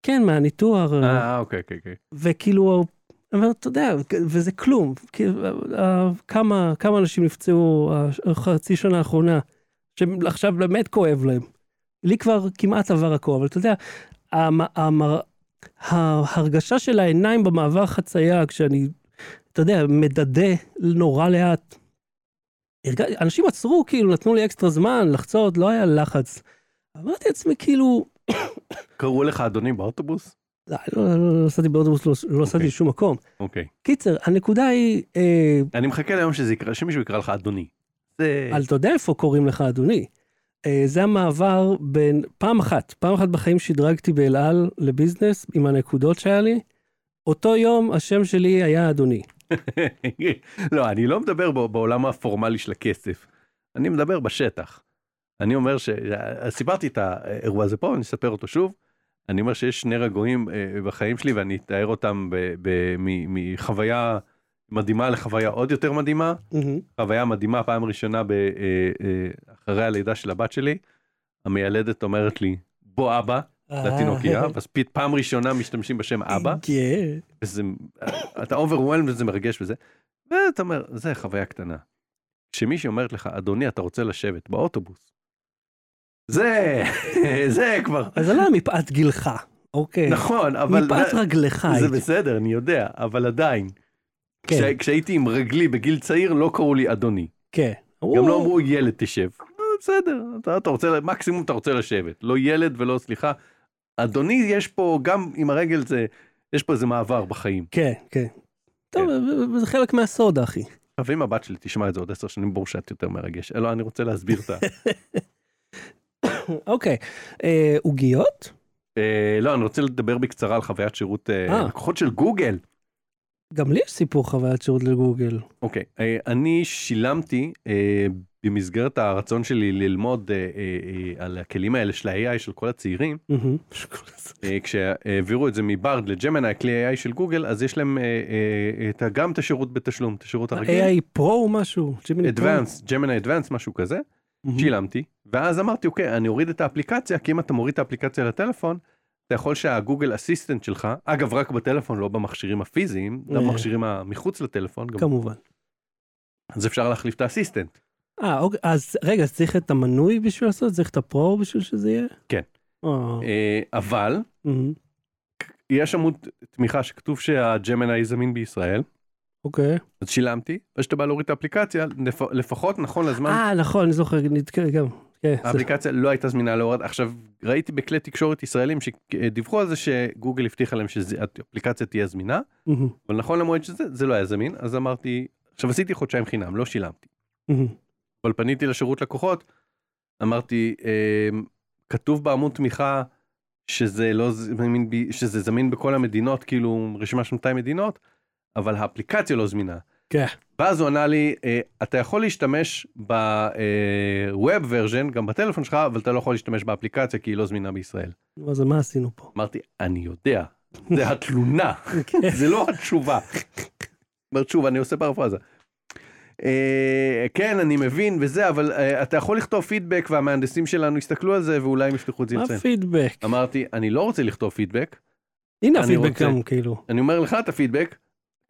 Speaker 1: כן, מהניתוח,
Speaker 2: אה, אוקיי, אוקיי, אוקיי.
Speaker 1: וכאילו, אני אומר, אתה יודע, וזה כלום, כאילו, אה, כמה, כמה אנשים נפצעו אה, חצי שנה האחרונה, שעכשיו באמת כואב להם. לי כבר כמעט עבר הכל, אבל אתה יודע, המ, המר, ההרגשה של העיניים במעבר חצייה, כשאני, אתה יודע, מדדה נורא לאט. הרג- אנשים עצרו, כאילו, נתנו לי אקסטרה זמן לחצות, לא היה לחץ. אמרתי לעצמי, כאילו,
Speaker 2: קראו לך אדוני באוטובוס?
Speaker 1: לא, לא, לא, לא נסעתי באוטובוס, לא- לא נסעתי
Speaker 2: אוקיי.
Speaker 1: לשום מקום.
Speaker 2: אוקיי.
Speaker 1: קיצר, הנקודה היא, אה,
Speaker 2: אני מחכה ליום שזה יקרה, שמישהו יקרא לך אדוני. זה...
Speaker 1: אבל אתה יודע איפה קוראים לך אדוני. אה, זה המעבר בין, פעם אחת, פעם אחת בחיים שדרגתי באל על לביזנס עם הנקודות שהיה לי. אותו יום השם שלי היה אדוני.
Speaker 2: לא, אני לא מדבר ב- בעולם הפורמלי של הכסף. אני מדבר בשטח. אני אומר ש... אז סיפרתי את האירוע הזה פה, אני אספר אותו שוב. אני אומר שיש שני רגועים אה, בחיים שלי ואני אתאר אותם ב- ב- מ- מחוויה מדהימה לחוויה עוד יותר מדהימה. חוויה מדהימה, פעם ראשונה ב- אה, אה, אחרי הלידה של הבת שלי. המיילדת אומרת לי, בוא אבא,
Speaker 1: אה,
Speaker 2: לתינוקייה, ואז פית- פעם ראשונה משתמשים בשם אבא.
Speaker 1: כן.
Speaker 2: וזה, אה, אתה אוברוולם וזה מרגש וזה. ואתה אומר, זה חוויה קטנה. כשמישהי אומרת לך, אדוני, אתה רוצה לשבת באוטובוס. זה, זה כבר,
Speaker 1: אז זה לא היה מפאת גילך, אוקיי.
Speaker 2: נכון, אבל
Speaker 1: מפאת רגלך.
Speaker 2: זה
Speaker 1: הייתי.
Speaker 2: בסדר, אני יודע, אבל עדיין.
Speaker 1: כן,
Speaker 2: כשה- כשהייתי עם רגלי בגיל צעיר, לא קראו לי אדוני.
Speaker 1: כן.
Speaker 2: גם לא אמרו, ילד תשב. "אה, בסדר, אתה, אתה רוצה, מקסימום אתה רוצה לשבת. לא ילד ולא, סליחה, אדוני, יש פה, גם עם הרגל זה, יש פה איזה מעבר בחיים.
Speaker 1: כן, כן. טוב, זה חלק מהסוד, אחי.
Speaker 2: עכשיו אם הבת שלי תשמע את זה עוד עשר שנים ברור שאת יותר מרגש. לא, אני רוצה להסביר את ה...
Speaker 1: אוקיי. אה, עוגיות?
Speaker 2: אה, לא, אני רוצה לדבר בקצרה על חוויית שירות אה,
Speaker 1: אה.
Speaker 2: לקוחות של גוגל.
Speaker 1: גם לי יש סיפור חוויית שירות לגוגל.
Speaker 2: אוקיי, אה, אני שילמתי אה, במסגרת הרצון שלי ללמוד אה, אה, אה, על הכלים האלה של ה-AI של כל הצעירים.
Speaker 1: מהמם.
Speaker 2: אה, כשהעבירו את זה מברד לג'מנה, הכלי AI של גוגל, אז יש להם אה, אה, את ה- גם את השירות בתשלום, את השירות הרגיל.
Speaker 1: AI פרו או משהו? ג'ימיני פרו?
Speaker 2: Advanced, ג'מנה Advanced, משהו כזה.
Speaker 1: מהמם.
Speaker 2: שילמתי, ואז אמרתי, אוקיי, אני אוריד את האפליקציה, כי אם אתה מוריד את האפליקציה לטלפון, אתה יכול שהגוגל אסיסטנט שלך, אגב, רק בטלפון, לא במכשירים הפיזיים,
Speaker 1: אה.
Speaker 2: גם במכשירים המחוץ לטלפון, גם,
Speaker 1: כמובן.
Speaker 2: אז אפשר להחליף את האסיסטנט.
Speaker 1: אה, אוקיי, אז רגע, אז צריך את המנוי בשביל לעשות? צריך את הפרו בשביל שזה יהיה?
Speaker 2: כן.
Speaker 1: אה,
Speaker 2: אה, אבל,
Speaker 1: מהמם.
Speaker 2: יש עמוד תמיכה שכתוב שהג'מנאי זמין בישראל,
Speaker 1: אוקיי.
Speaker 2: אז שילמתי, וכשאתה בא להוריד את האפליקציה, לפ- לפחות נכון לזמן,
Speaker 1: אה, נכון, אני זוכר, נתקע גם. כן, זה-
Speaker 2: האפליקציה לא הייתה זמינה להורד. עכשיו, ראיתי בכלי תקשורת ישראלים שדיווחו על זה שגוגל הבטיחה להם שהאפליקציה תהיה זמינה,
Speaker 1: מהמם,
Speaker 2: אבל נכון למועד שזה, זה לא היה זמין, אז אמרתי, עכשיו עשיתי חודשיים חינם, לא שילמתי.
Speaker 1: מהמם.
Speaker 2: אבל פניתי לשירות לקוחות, אמרתי, אמ, כתוב בעמוד תמיכה שזה לא זמין, ב- שזה זמין בכל המדינות, כאילו רשימה של 200 מדינות, אבל האפליקציה לא זמינה.
Speaker 1: כן.
Speaker 2: ואז הוא ענה לי, "אה, אתה יכול להשתמש ב-Web version גם בטלפון שלך, אבל אתה לא יכול להשתמש באפליקציה כי היא לא זמינה בישראל.
Speaker 1: נו, אז מה עשינו פה?
Speaker 2: אמרתי, אני יודע, זה התלונה,
Speaker 1: כן.
Speaker 2: זה לא התשובה. אומרת שוב, אני עושה פרפרזה. אה, כן, אני מבין וזה, אבל אה, אתה יכול לכתוב פידבק והמהנדסים שלנו יסתכלו על זה ואולי הם יפתחו את זה
Speaker 1: מה
Speaker 2: יוצא.
Speaker 1: הפידבק?
Speaker 2: אמרתי, אני לא רוצה לכתוב פידבק,
Speaker 1: הנה
Speaker 2: אני
Speaker 1: הפידבק
Speaker 2: רוצה-
Speaker 1: גם, כאילו.
Speaker 2: אני אומר לך את הפידבק,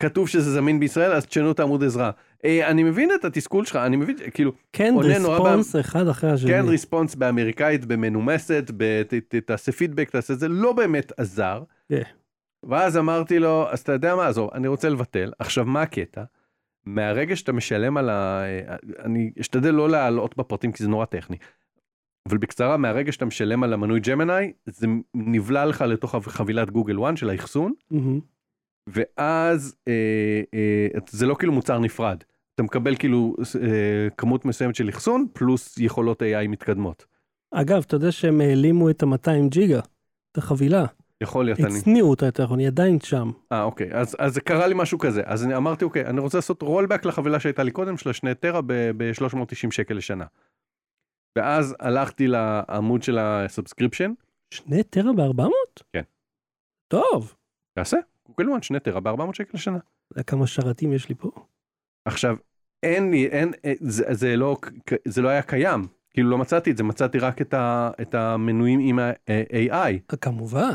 Speaker 2: כתוב שזה זמין בישראל, אז תשנו את העמוד עזרה. אה, אני מבין את התסכול שלך, אני מבין, כאילו,
Speaker 1: כן,
Speaker 2: עונה נורא
Speaker 1: רספונס אחד אחרי השני.
Speaker 2: כן ריספונס באמריקאית, במנומסת, ב- ת- ת- תעשה פידבק, תעשה את זה, לא באמת עזר.
Speaker 1: כן.
Speaker 2: ואז אמרתי לו, אז אתה יודע מה, עזוב, אני רוצה לבטל. עכשיו, מה הקטע? מהרגע שאתה משלם על ה... אה, אני אשתדל לא להעלות בפרטים כי זה נורא טכני. אבל בקצרה, מהרגע שאתה משלם על המנוי ג'מנאי, זה נבלע לך לתוך חבילת גוגל וואן של האחסון,
Speaker 1: מהמם,
Speaker 2: ואז אה, אה, זה לא כאילו מוצר נפרד. אתה מקבל כאילו אה, כמות מסוימת של אחסון, פלוס יכולות AI מתקדמות.
Speaker 1: אגב, אתה יודע שהם העלימו את ה-200 ג'יגה, את החבילה.
Speaker 2: יכול להיות אני.
Speaker 1: הצניעו אותה יותר נכון, היא עדיין שם.
Speaker 2: אה אוקיי, אז, אז זה קרה לי משהו כזה, אז אני אמרתי אוקיי, אני רוצה לעשות רולבק לחבילה שהייתה לי קודם של השני טרה ב-390 שקל לשנה. ואז הלכתי לעמוד של הסאבסקריפשן,
Speaker 1: שני טרה ב-400?
Speaker 2: כן.
Speaker 1: טוב.
Speaker 2: תעשה, גוגל וואן שני טרה ב-400 שקל לשנה.
Speaker 1: אתה יודע כמה שרתים יש לי פה?
Speaker 2: עכשיו, אין לי, אין, אה, זה, זה, לא, ק- זה לא היה קיים, כאילו לא מצאתי את זה, מצאתי רק את, ה, את המנויים עם ה-AI.
Speaker 1: אה, כמובן.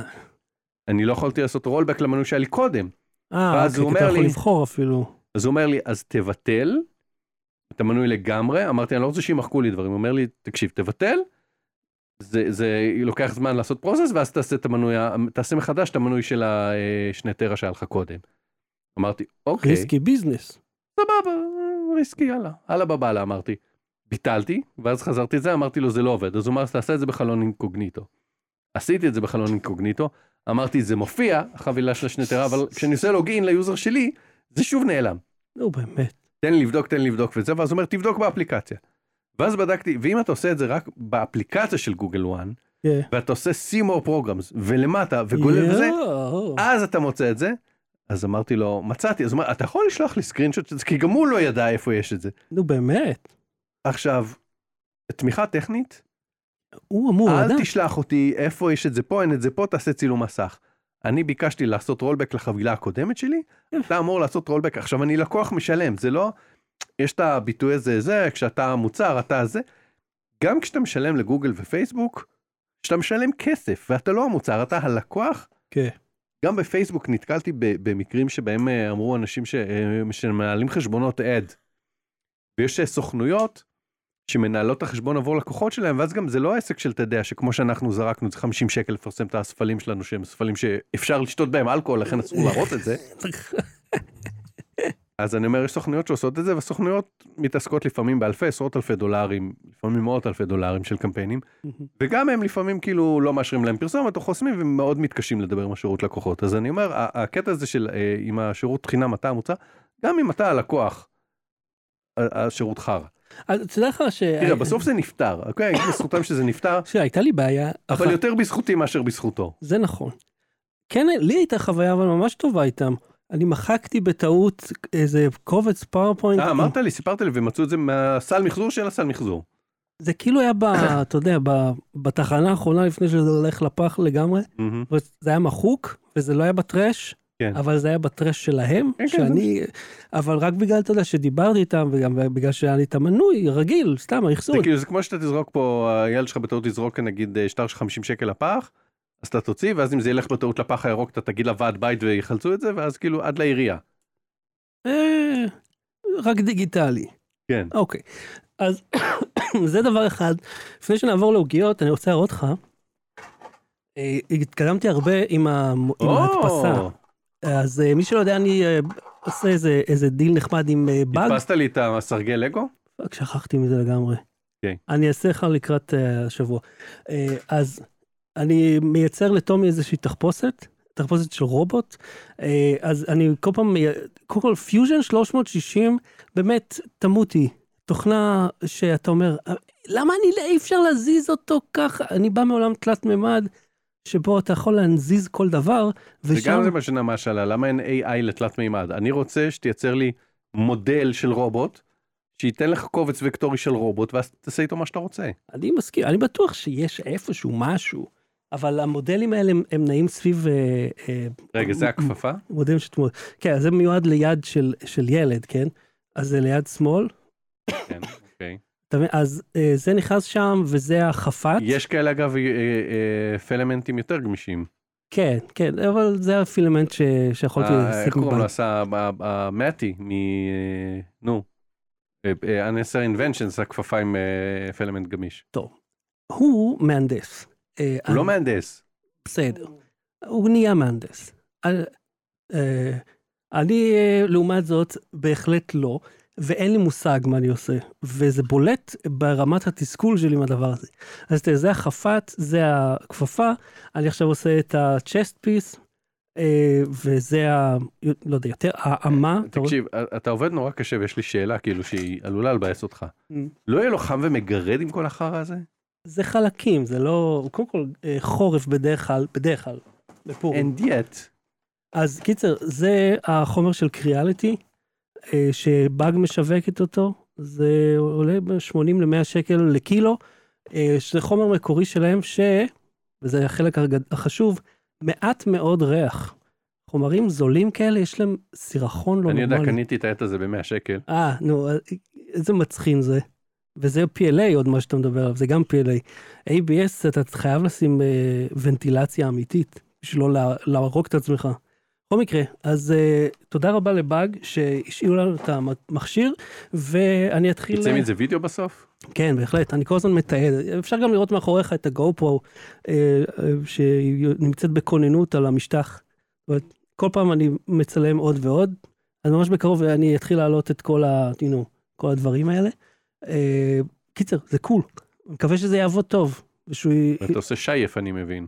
Speaker 2: אני לא יכולתי לעשות רולבק למנוי שהיה לי קודם.
Speaker 1: אה,
Speaker 2: ואז
Speaker 1: אוקיי,
Speaker 2: הוא
Speaker 1: כי אתה
Speaker 2: אומר
Speaker 1: יכול
Speaker 2: לי-
Speaker 1: לבחור אפילו.
Speaker 2: אז הוא אומר לי, אז תבטל את המנוי לגמרי. אמרתי, אני לא רוצה שימחקו לי דברים. הוא אומר לי, תקשיב, תבטל, זה, זה לוקח זמן לעשות פרוסס, ואז תעשה את המנוי, ה- תעשה מחדש את המנוי של השני טרה שהיה לך קודם. אמרתי, אוקיי, ריסקי.
Speaker 1: ריסקי ביזנס.
Speaker 2: סבבה, ריסקי, יאללה, הלאה בבאללה, אמרתי. ביטלתי, ואז חזרתי את זה, אמרתי לו, זה לא עובד. אז הוא אמר, אז תעשה את זה בחלון אינקוגניטו. עשיתי את זה בחלון אינקוגניטו, אמרתי, זה מופיע, החבילה של השני טרה, אבל כשאני עושה לוגין ליוזר שלי, זה שוב נעלם.
Speaker 1: נו, באמת.
Speaker 2: תן לי לבדוק, תן לי לבדוק וזה, ואז הוא אומר, תבדוק באפליקציה. ואז בדקתי, ואם אתה עושה את זה רק באפליקציה של גוגל וואן,
Speaker 1: כן.
Speaker 2: ואתה עושה see more programs, ולמטה, וגולל וזה,
Speaker 1: יואו.
Speaker 2: אז אתה מוצא את זה. אז אמרתי לו, מצאתי, אז הוא אומר, אתה יכול לשלוח לי סקרינשוט של זה, כי גם הוא לא ידע איפה יש את זה.
Speaker 1: נו, באמת.
Speaker 2: עכשיו, תמיכה טכנית,
Speaker 1: הוא אמור לדעת.
Speaker 2: אל תשלח אותי איפה יש את זה פה, אין את זה פה, תעשה צילום מסך. אני ביקשתי לעשות רולבק לחבילה הקודמת שלי, אתה אמור לעשות רולבק. עכשיו, אני לקוח משלם, זה לא... יש את הביטוי הזה, זה, כשאתה מוצר, אתה זה. גם כשאתה משלם לגוגל ופייסבוק, כשאתה משלם כסף, ואתה לא המוצר, אתה הלקוח.
Speaker 1: כן.
Speaker 2: גם בפייסבוק נתקלתי ב- במקרים שבהם אה, אמרו אנשים ש- אה, שמנהלים חשבונות עד. ויש אה, סוכנויות שמנהלות את החשבון עבור לקוחות שלהם, ואז גם זה לא עסק של, אתה יודע, שכמו שאנחנו זרקנו, זה 50 שקל לפרסם את הספלים שלנו, שהם ספלים שאפשר לשתות בהם אלכוהול, לכן אסור להראות את זה. אז אני אומר, יש סוכנויות שעושות את זה, והסוכנויות מתעסקות לפעמים באלפי, עשרות אלפי דולרים, לפעמים מאות אלפי דולרים של קמפיינים, וגם הם לפעמים כאילו לא מאשרים להם פרסומת או חוסמים, והם מאוד מתקשים לדבר עם השירות לקוחות. אז אני אומר, ה- הקטע הזה של אה, אם השירות חינם אתה המוצר, גם אם אתה הלקוח, ה- השירות חרא.
Speaker 1: אז תדע לך ש...
Speaker 2: תראה, בסוף זה נפתר, אוקיי? אני אגיד בזכותם שזה נפתר,
Speaker 1: שהייתה לי בעיה. אחת.
Speaker 2: אבל יותר בזכותי מאשר בזכותו.
Speaker 1: זה נכון. כן, לי הייתה חוויה אבל ממש טובה איתם. אני מחקתי בטעות איזה קובץ פאורפוינט.
Speaker 2: אה, אמרת לי, סיפרת לי, ומצאו את זה מהסל מחזור של הסל מחזור.
Speaker 1: זה כאילו היה, ב, אתה יודע, ב, בתחנה האחרונה לפני שזה הולך לפח לגמרי.
Speaker 2: מהמם.
Speaker 1: זה היה מחוק, וזה לא היה בטרש,
Speaker 2: כן.
Speaker 1: אבל זה היה בטרש שלהם,
Speaker 2: כן, כן,
Speaker 1: שאני... אבל רק בגלל, אתה יודע, שדיברתי איתם, וגם בגלל שהיה לי את המנוי, רגיל, סתם, האחסון.
Speaker 2: זה כאילו, זה כמו שאתה תזרוק פה, הילד שלך בטעות יזרוק נגיד אה, שטר של 50 שקל לפח, אז אתה תוציא, ואז אם זה ילך בטעות לפח הירוק, אתה תגיד לוועד בית ויחלצו את זה, ואז כאילו עד לעירייה.
Speaker 1: אה, רק דיגיטלי.
Speaker 2: כן.
Speaker 1: אוקיי. אז זה דבר אחד. לפני שנעבור לעוגיות, אני רוצה להראות לך. אה, התקדמתי הרבה עם ה- עם ההדפסה.
Speaker 2: או,
Speaker 1: אז אה, מי שלא יודע, אני אה, עושה איזה- איזה דיל נחמד עם אה, באג.
Speaker 2: הדפסת לי את הסרגל לגו?
Speaker 1: רק שכחתי מזה לגמרי.
Speaker 2: אוקיי.
Speaker 1: אני אעשה לך לקראת אה, השבוע. אה, אז אני מייצר לטומי איזושהי תחפושת, תחפושת של רובוט. אה, אז אני כל פעם, מי- קודם כל פיוז'ן 360, באמת, תמותי. תוכנה שאתה אומר, "אה, למה אני, אי אפשר להזיז אותו ככה? אני בא מעולם תלת מימד, שבו אתה יכול להנזיז כל דבר,
Speaker 2: וגם
Speaker 1: ושם...
Speaker 2: זה מה שנמש עלה, למה אין AI לתלת מימד? אני רוצה שתייצר לי מודל של רובוט, שייתן לך קובץ וקטורי של רובוט, ואז תעשה איתו מה שאתה רוצה.
Speaker 1: אני מסכים, אני בטוח שיש איפשהו משהו, אבל המודלים האלה הם, הם נעים סביב אה, אה,
Speaker 2: רגע, זה הכפפה?
Speaker 1: מודלים של תמונות. כן, זה מיועד ליד של, של ילד, כן? אז זה ליד שמאל.
Speaker 2: כן, אוקיי.
Speaker 1: אתה מבין? אז אה, זה נכנס שם וזה החפ"ת.
Speaker 2: יש כאלה אגב אה, אה, פלמנטים יותר גמישים.
Speaker 1: כן, כן, אבל זה הפילמנט ש, שיכולתי
Speaker 2: אה, איך
Speaker 1: להסתכל
Speaker 2: קוראים
Speaker 1: בו.
Speaker 2: לו? עשה ה- ה- מאטי מ... אה, נו. אה, אה, Unnecessary Inventions, הכפפה עם אה, פלמנט גמיש.
Speaker 1: הוא מהנדס. אה,
Speaker 2: הוא לא
Speaker 1: אני-
Speaker 2: מהנדס.
Speaker 1: בסדר. הוא נהיה מהנדס. אה, אה, אני, אה, לעומת זאת, בהחלט לא, ואין לי מושג מה אני עושה, וזה בולט ברמת התסכול שלי מהדבר הזה. אז תראה, זה החפ"ת, זה הכפפה, אני עכשיו עושה את ה-chest piece, אה, וזה ה... לא יודע, יותר, האמה. אתה רואה?
Speaker 2: תקשיב, אה, אתה עובד נורא קשה ויש לי שאלה כאילו שהיא עלולה לבאס אותך.
Speaker 1: Mm.
Speaker 2: לא יהיה לו חם ומגרד עם כל החרא הזה?
Speaker 1: זה חלקים, זה לא... קודם כל, אה, חורף בדרך כלל, בדרך כלל, בפורים.
Speaker 2: And yet.
Speaker 1: אז קיצר, זה החומר של קריאליטי, אה, שבאג משווקת אותו, זה עולה ב-80 ל-100 שקל לקילו, אה, שזה חומר מקורי שלהם, ש... וזה החלק הגד- החשוב, מעט מאוד ריח. חומרים זולים כאלה, יש להם סירחון לא
Speaker 2: אני
Speaker 1: נורמלי.
Speaker 2: יודע, קניתי את העט הזה ב-100 שקל.
Speaker 1: אה, נו, אה, איזה מצחין זה. וזה PLA עוד מה שאתה מדבר עליו, זה גם PLA. ABS, אתה חייב לשים אה, ונטילציה אמיתית, בשביל לא לה- להרוג את עצמך. בכל מקרה, אז אה, תודה רבה לבאג שהשאירו לנו את המכשיר, ואני אתחיל... אה,
Speaker 2: יצא מזה וידאו בסוף?
Speaker 1: כן, בהחלט, אני כל הזמן מתעד. אפשר גם לראות מאחוריך את הגו פרו, אה, אה, שנמצאת בכוננות על המשטח. זאת אומרת, כל פעם אני מצלם עוד ועוד, אז ממש בקרוב אני אתחיל להעלות את כל, ה, you know, כל הדברים האלה. אה, קיצר, זה קול. אני מקווה שזה יעבוד טוב. ושהוא... י-
Speaker 2: אתה עושה שייף, אני מבין.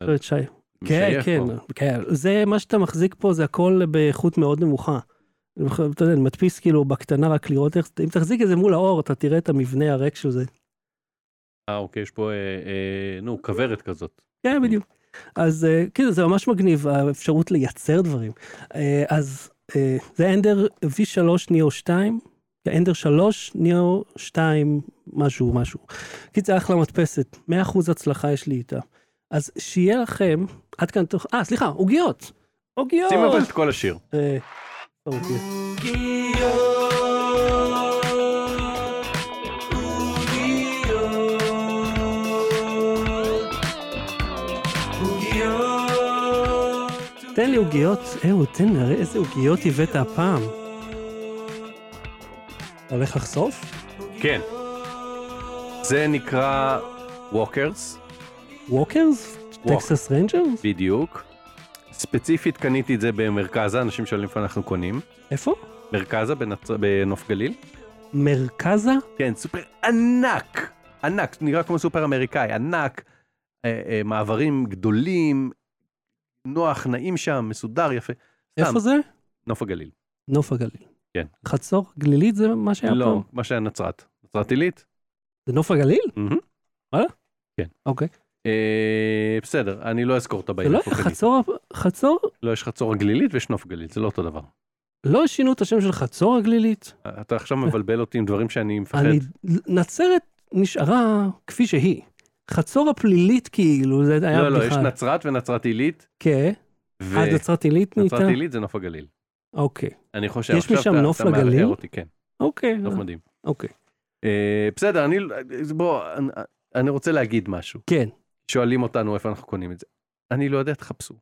Speaker 1: לא, את שי. כן,
Speaker 2: משייף
Speaker 1: כן,
Speaker 2: פה.
Speaker 1: כן. זה מה שאתה מחזיק פה, זה הכל באיכות מאוד נמוכה. אני בכלל, אתה יודע, אני מדפיס כאילו בקטנה רק לראות איך, אם תחזיק את זה מול האור, אתה תראה את המבנה הריק של זה.
Speaker 2: אה, אוקיי, יש פה, אה, אה, נו, כוורת כזאת.
Speaker 1: כן, בדיוק. אז אה, כאילו זה ממש מגניב, האפשרות לייצר דברים. אה, אז אה, זה אנדר V3 ניאו 2, זה אנדר 3 ניאו 2 משהו משהו. קיצר, אחלה מדפסת, 100% הצלחה יש לי איתה. אז שיהיה לכם, עד כאן תוך, אה, סליחה, עוגיות. עוגיות.
Speaker 2: שים אבל את כל השיר.
Speaker 1: אה, אוקיי. תן לי עוגיות, אהו, תן לי, הרי איזה עוגיות הבאת הפעם. הולך לחשוף?
Speaker 2: כן. זה נקרא ווקרס,
Speaker 1: ווקרס? טקסס רנג'רס?
Speaker 2: בדיוק. ספציפית קניתי את זה במרכזה, אנשים שואלים איפה אנחנו קונים.
Speaker 1: איפה?
Speaker 2: מרכזה בנצ... בנוף גליל.
Speaker 1: מרכזה?
Speaker 2: כן, סופר ענק, ענק, נראה כמו סופר אמריקאי, ענק, אה, אה, מעברים גדולים, נוח, נעים שם, מסודר, יפה. סתם,
Speaker 1: איפה זה?
Speaker 2: נוף הגליל.
Speaker 1: נוף הגליל.
Speaker 2: כן.
Speaker 1: חצור? גלילית זה מה שהיה
Speaker 2: לא,
Speaker 1: אה, פה?
Speaker 2: מה שהיה נצרת. נצרת עילית?
Speaker 1: זה נוף הגליל?
Speaker 2: מהמם.
Speaker 1: אוקיי.
Speaker 2: אה, בסדר, אני לא אזכור את
Speaker 1: זה
Speaker 2: הבעיה.
Speaker 1: לא היה חצור, חצור?
Speaker 2: לא, יש חצור הגלילית ויש נוף גליל, זה לא אותו דבר.
Speaker 1: לא שינו את השם של חצור הגלילית?
Speaker 2: אתה עכשיו מבלבל אותי עם דברים שאני מפחד.
Speaker 1: אני, נצרת נשארה כפי שהיא. חצור הפלילית כאילו, זה היה
Speaker 2: לא, לא, יש
Speaker 1: בדיחה.
Speaker 2: נצרת ונצרת עילית,
Speaker 1: כן. עד
Speaker 2: ונצרת
Speaker 1: נצרת עילית נהייתה?
Speaker 2: עילית זה נוף הגליל.
Speaker 1: אוקיי.
Speaker 2: אני חושב,
Speaker 1: יש
Speaker 2: עכשיו
Speaker 1: משם
Speaker 2: אתה-
Speaker 1: נוף
Speaker 2: אתה מערער
Speaker 1: לגליל?
Speaker 2: אותי, כן,
Speaker 1: אוקיי.
Speaker 2: נוף מדהים.
Speaker 1: אוקיי.
Speaker 2: אה, בסדר, אני, בוא, אני- אני רוצה להגיד משהו.
Speaker 1: כן.
Speaker 2: שואלים אותנו איפה אנחנו קונים את זה. אני לא יודע, תחפשו.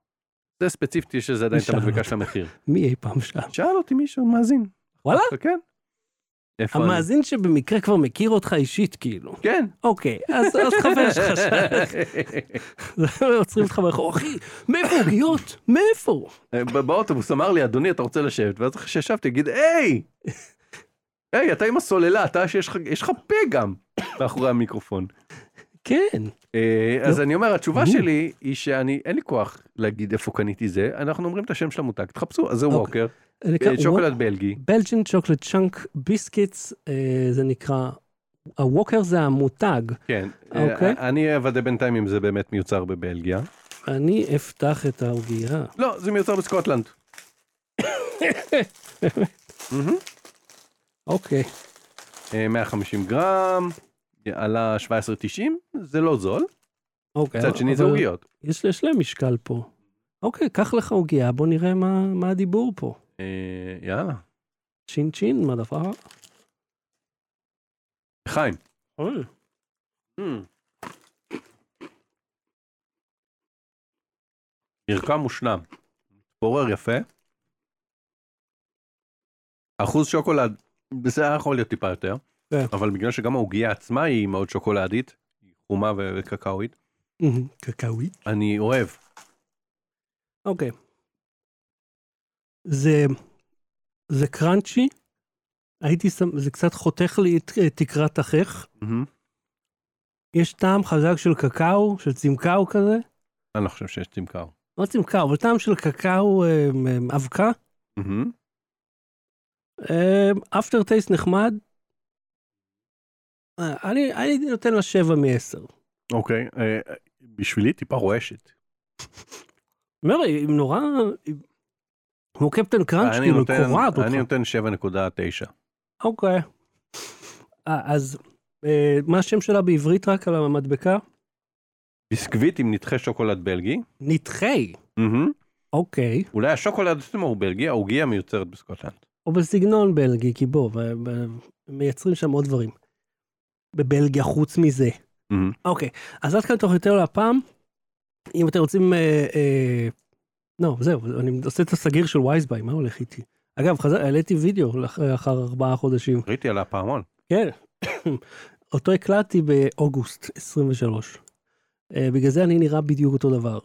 Speaker 2: זה ספציפית, יש לזה עדיין את
Speaker 1: מי שאל
Speaker 2: המדבקה
Speaker 1: אותך?
Speaker 2: של המחיר.
Speaker 1: מי אי פעם שם?
Speaker 2: שאל אותי מישהו, מאזין.
Speaker 1: וואלה?
Speaker 2: כן. איפה אני?
Speaker 1: המאזין שבמקרה כבר מכיר אותך אישית כאילו.
Speaker 2: כן.
Speaker 1: אוקיי, אז אז חבר שלך שם. עוצרים אותך ברחוב, אחי, מאיפה עוגיות? מאיפה?
Speaker 2: בא- באוטובוס אמר לי, אדוני, אתה רוצה לשבת? ואז אחרי שישבתי, יגיד, היי! היי, אתה עם הסוללה, אתה שיש לך- יש לך פה גם. מאחורי המיקרופון.
Speaker 1: כן.
Speaker 2: אה, אז
Speaker 1: לא.
Speaker 2: אני אומר, התשובה
Speaker 1: Mhm.
Speaker 2: שלי היא שאני, אין לי כוח להגיד איפה קניתי זה, אנחנו אומרים את השם של המותג, תחפשו, אז זה
Speaker 1: אוקיי.
Speaker 2: ווקר,
Speaker 1: זה נקרא
Speaker 2: אה, שוקולד בלגי.
Speaker 1: בלג'ן צ'וקולד צ'אנק ביסקיטס, אה, זה נקרא, הווקר זה המותג.
Speaker 2: כן, אה,
Speaker 1: אוקיי.
Speaker 2: אני אוודא בינתיים אם זה באמת מיוצר בבלגיה.
Speaker 1: אני אפתח את העוגייה.
Speaker 2: לא, זה מיוצר בסקוטלנד. מהמם.
Speaker 1: אוקיי.
Speaker 2: אה, 150 גרם, עלה 17.90, זה לא זול,
Speaker 1: אוקיי.
Speaker 2: מצד שני זה
Speaker 1: אבל
Speaker 2: עוגיות.
Speaker 1: יש יש להם משקל פה. אוקיי, קח לך עוגייה, בוא נראה מה מה הדיבור פה.
Speaker 2: אה, יאללה,
Speaker 1: צ'ין צ'ין, מה אה? דבר?
Speaker 2: חיים.
Speaker 1: אוי.
Speaker 2: Hmm. מרקם מושלם, מתפורר יפה. אחוז שוקולד, זה היה יכול להיות טיפה יותר,
Speaker 1: כן.
Speaker 2: אבל בגלל שגם העוגיה עצמה היא מאוד שוקולדית, היא חומה ו- וקקאואית,
Speaker 1: קקאווית.
Speaker 2: אני אוהב.
Speaker 1: אוקיי. זה, זה קראנצ'י, הייתי שם, זה קצת חותך לי את אה, תקרת החך. יש טעם חזק של קקאו, של צמקאו כזה.
Speaker 2: אני לא חושב שיש צמקאו.
Speaker 1: לא צמקאו, אבל טעם של קקאו אה, אה, אבקה. אפטר טייסט נחמד. אה, אני אני הייתי נותן לה 7 מ-10.
Speaker 2: אוקיי, אה, בשבילי טיפה רועשת.
Speaker 1: אומר, היא נורא... היא- כמו קפטן קראנץ',
Speaker 2: אני
Speaker 1: כאילו,
Speaker 2: נותן-
Speaker 1: קורעת אותך.
Speaker 2: אני נותן 7.9.
Speaker 1: אוקיי. אה, אז אה, מה השם שלה בעברית רק על המדבקה?
Speaker 2: ביסקוויט עם נתחי שוקולד בלגי.
Speaker 1: נתחי. אוקיי.
Speaker 2: אולי השוקולד עצמו הוא בלגי, העוגיה מיוצרת בסקוטלנד.
Speaker 1: או בסגנון בלגי, כי בוא, ו- ו- מייצרים שם עוד דברים. בבלגיה חוץ מזה. אוקיי, אז עד כאן תוכניתנו להפעם. אם אתם רוצים... אה, אה, לא, זהו, אני עושה את הסגיר של וייזביי, מה הולך איתי? אגב, חזר, העליתי וידאו לאח- לאחר ארבעה חודשים.
Speaker 2: ראיתי על הפעמון.
Speaker 1: כן. אותו הקלטתי באוגוסט 23. אה, בגלל זה אני נראה בדיוק אותו דבר.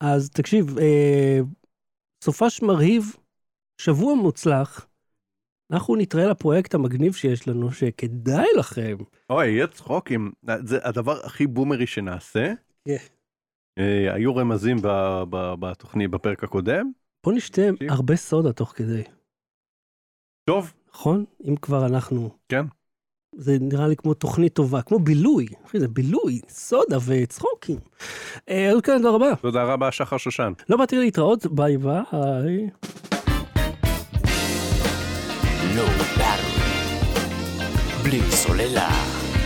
Speaker 1: אז תקשיב, אה, סופש מרהיב, שבוע מוצלח. אנחנו נתראה לפרויקט המגניב שיש לנו, שכדאי לכם.
Speaker 2: אוי, יהיה צחוקים. זה הדבר הכי בומרי שנעשה.
Speaker 1: כן.
Speaker 2: אה, היו רמזים ב- ב- בתוכנית בפרק הקודם.
Speaker 1: בוא נשתה
Speaker 2: תקשיב.
Speaker 1: הרבה סודה תוך כדי,
Speaker 2: טוב,
Speaker 1: נכון? אם כבר אנחנו...
Speaker 2: כן.
Speaker 1: זה נראה לי כמו תוכנית טובה, כמו בילוי. אחי, זה בילוי, סודה וצחוקים. אה, עוד כאן, תודה רבה.
Speaker 2: תודה רבה, שחר שושן.
Speaker 1: לא באתי להתראות, ביי ביי.
Speaker 3: Low Battery. בלי סוללה.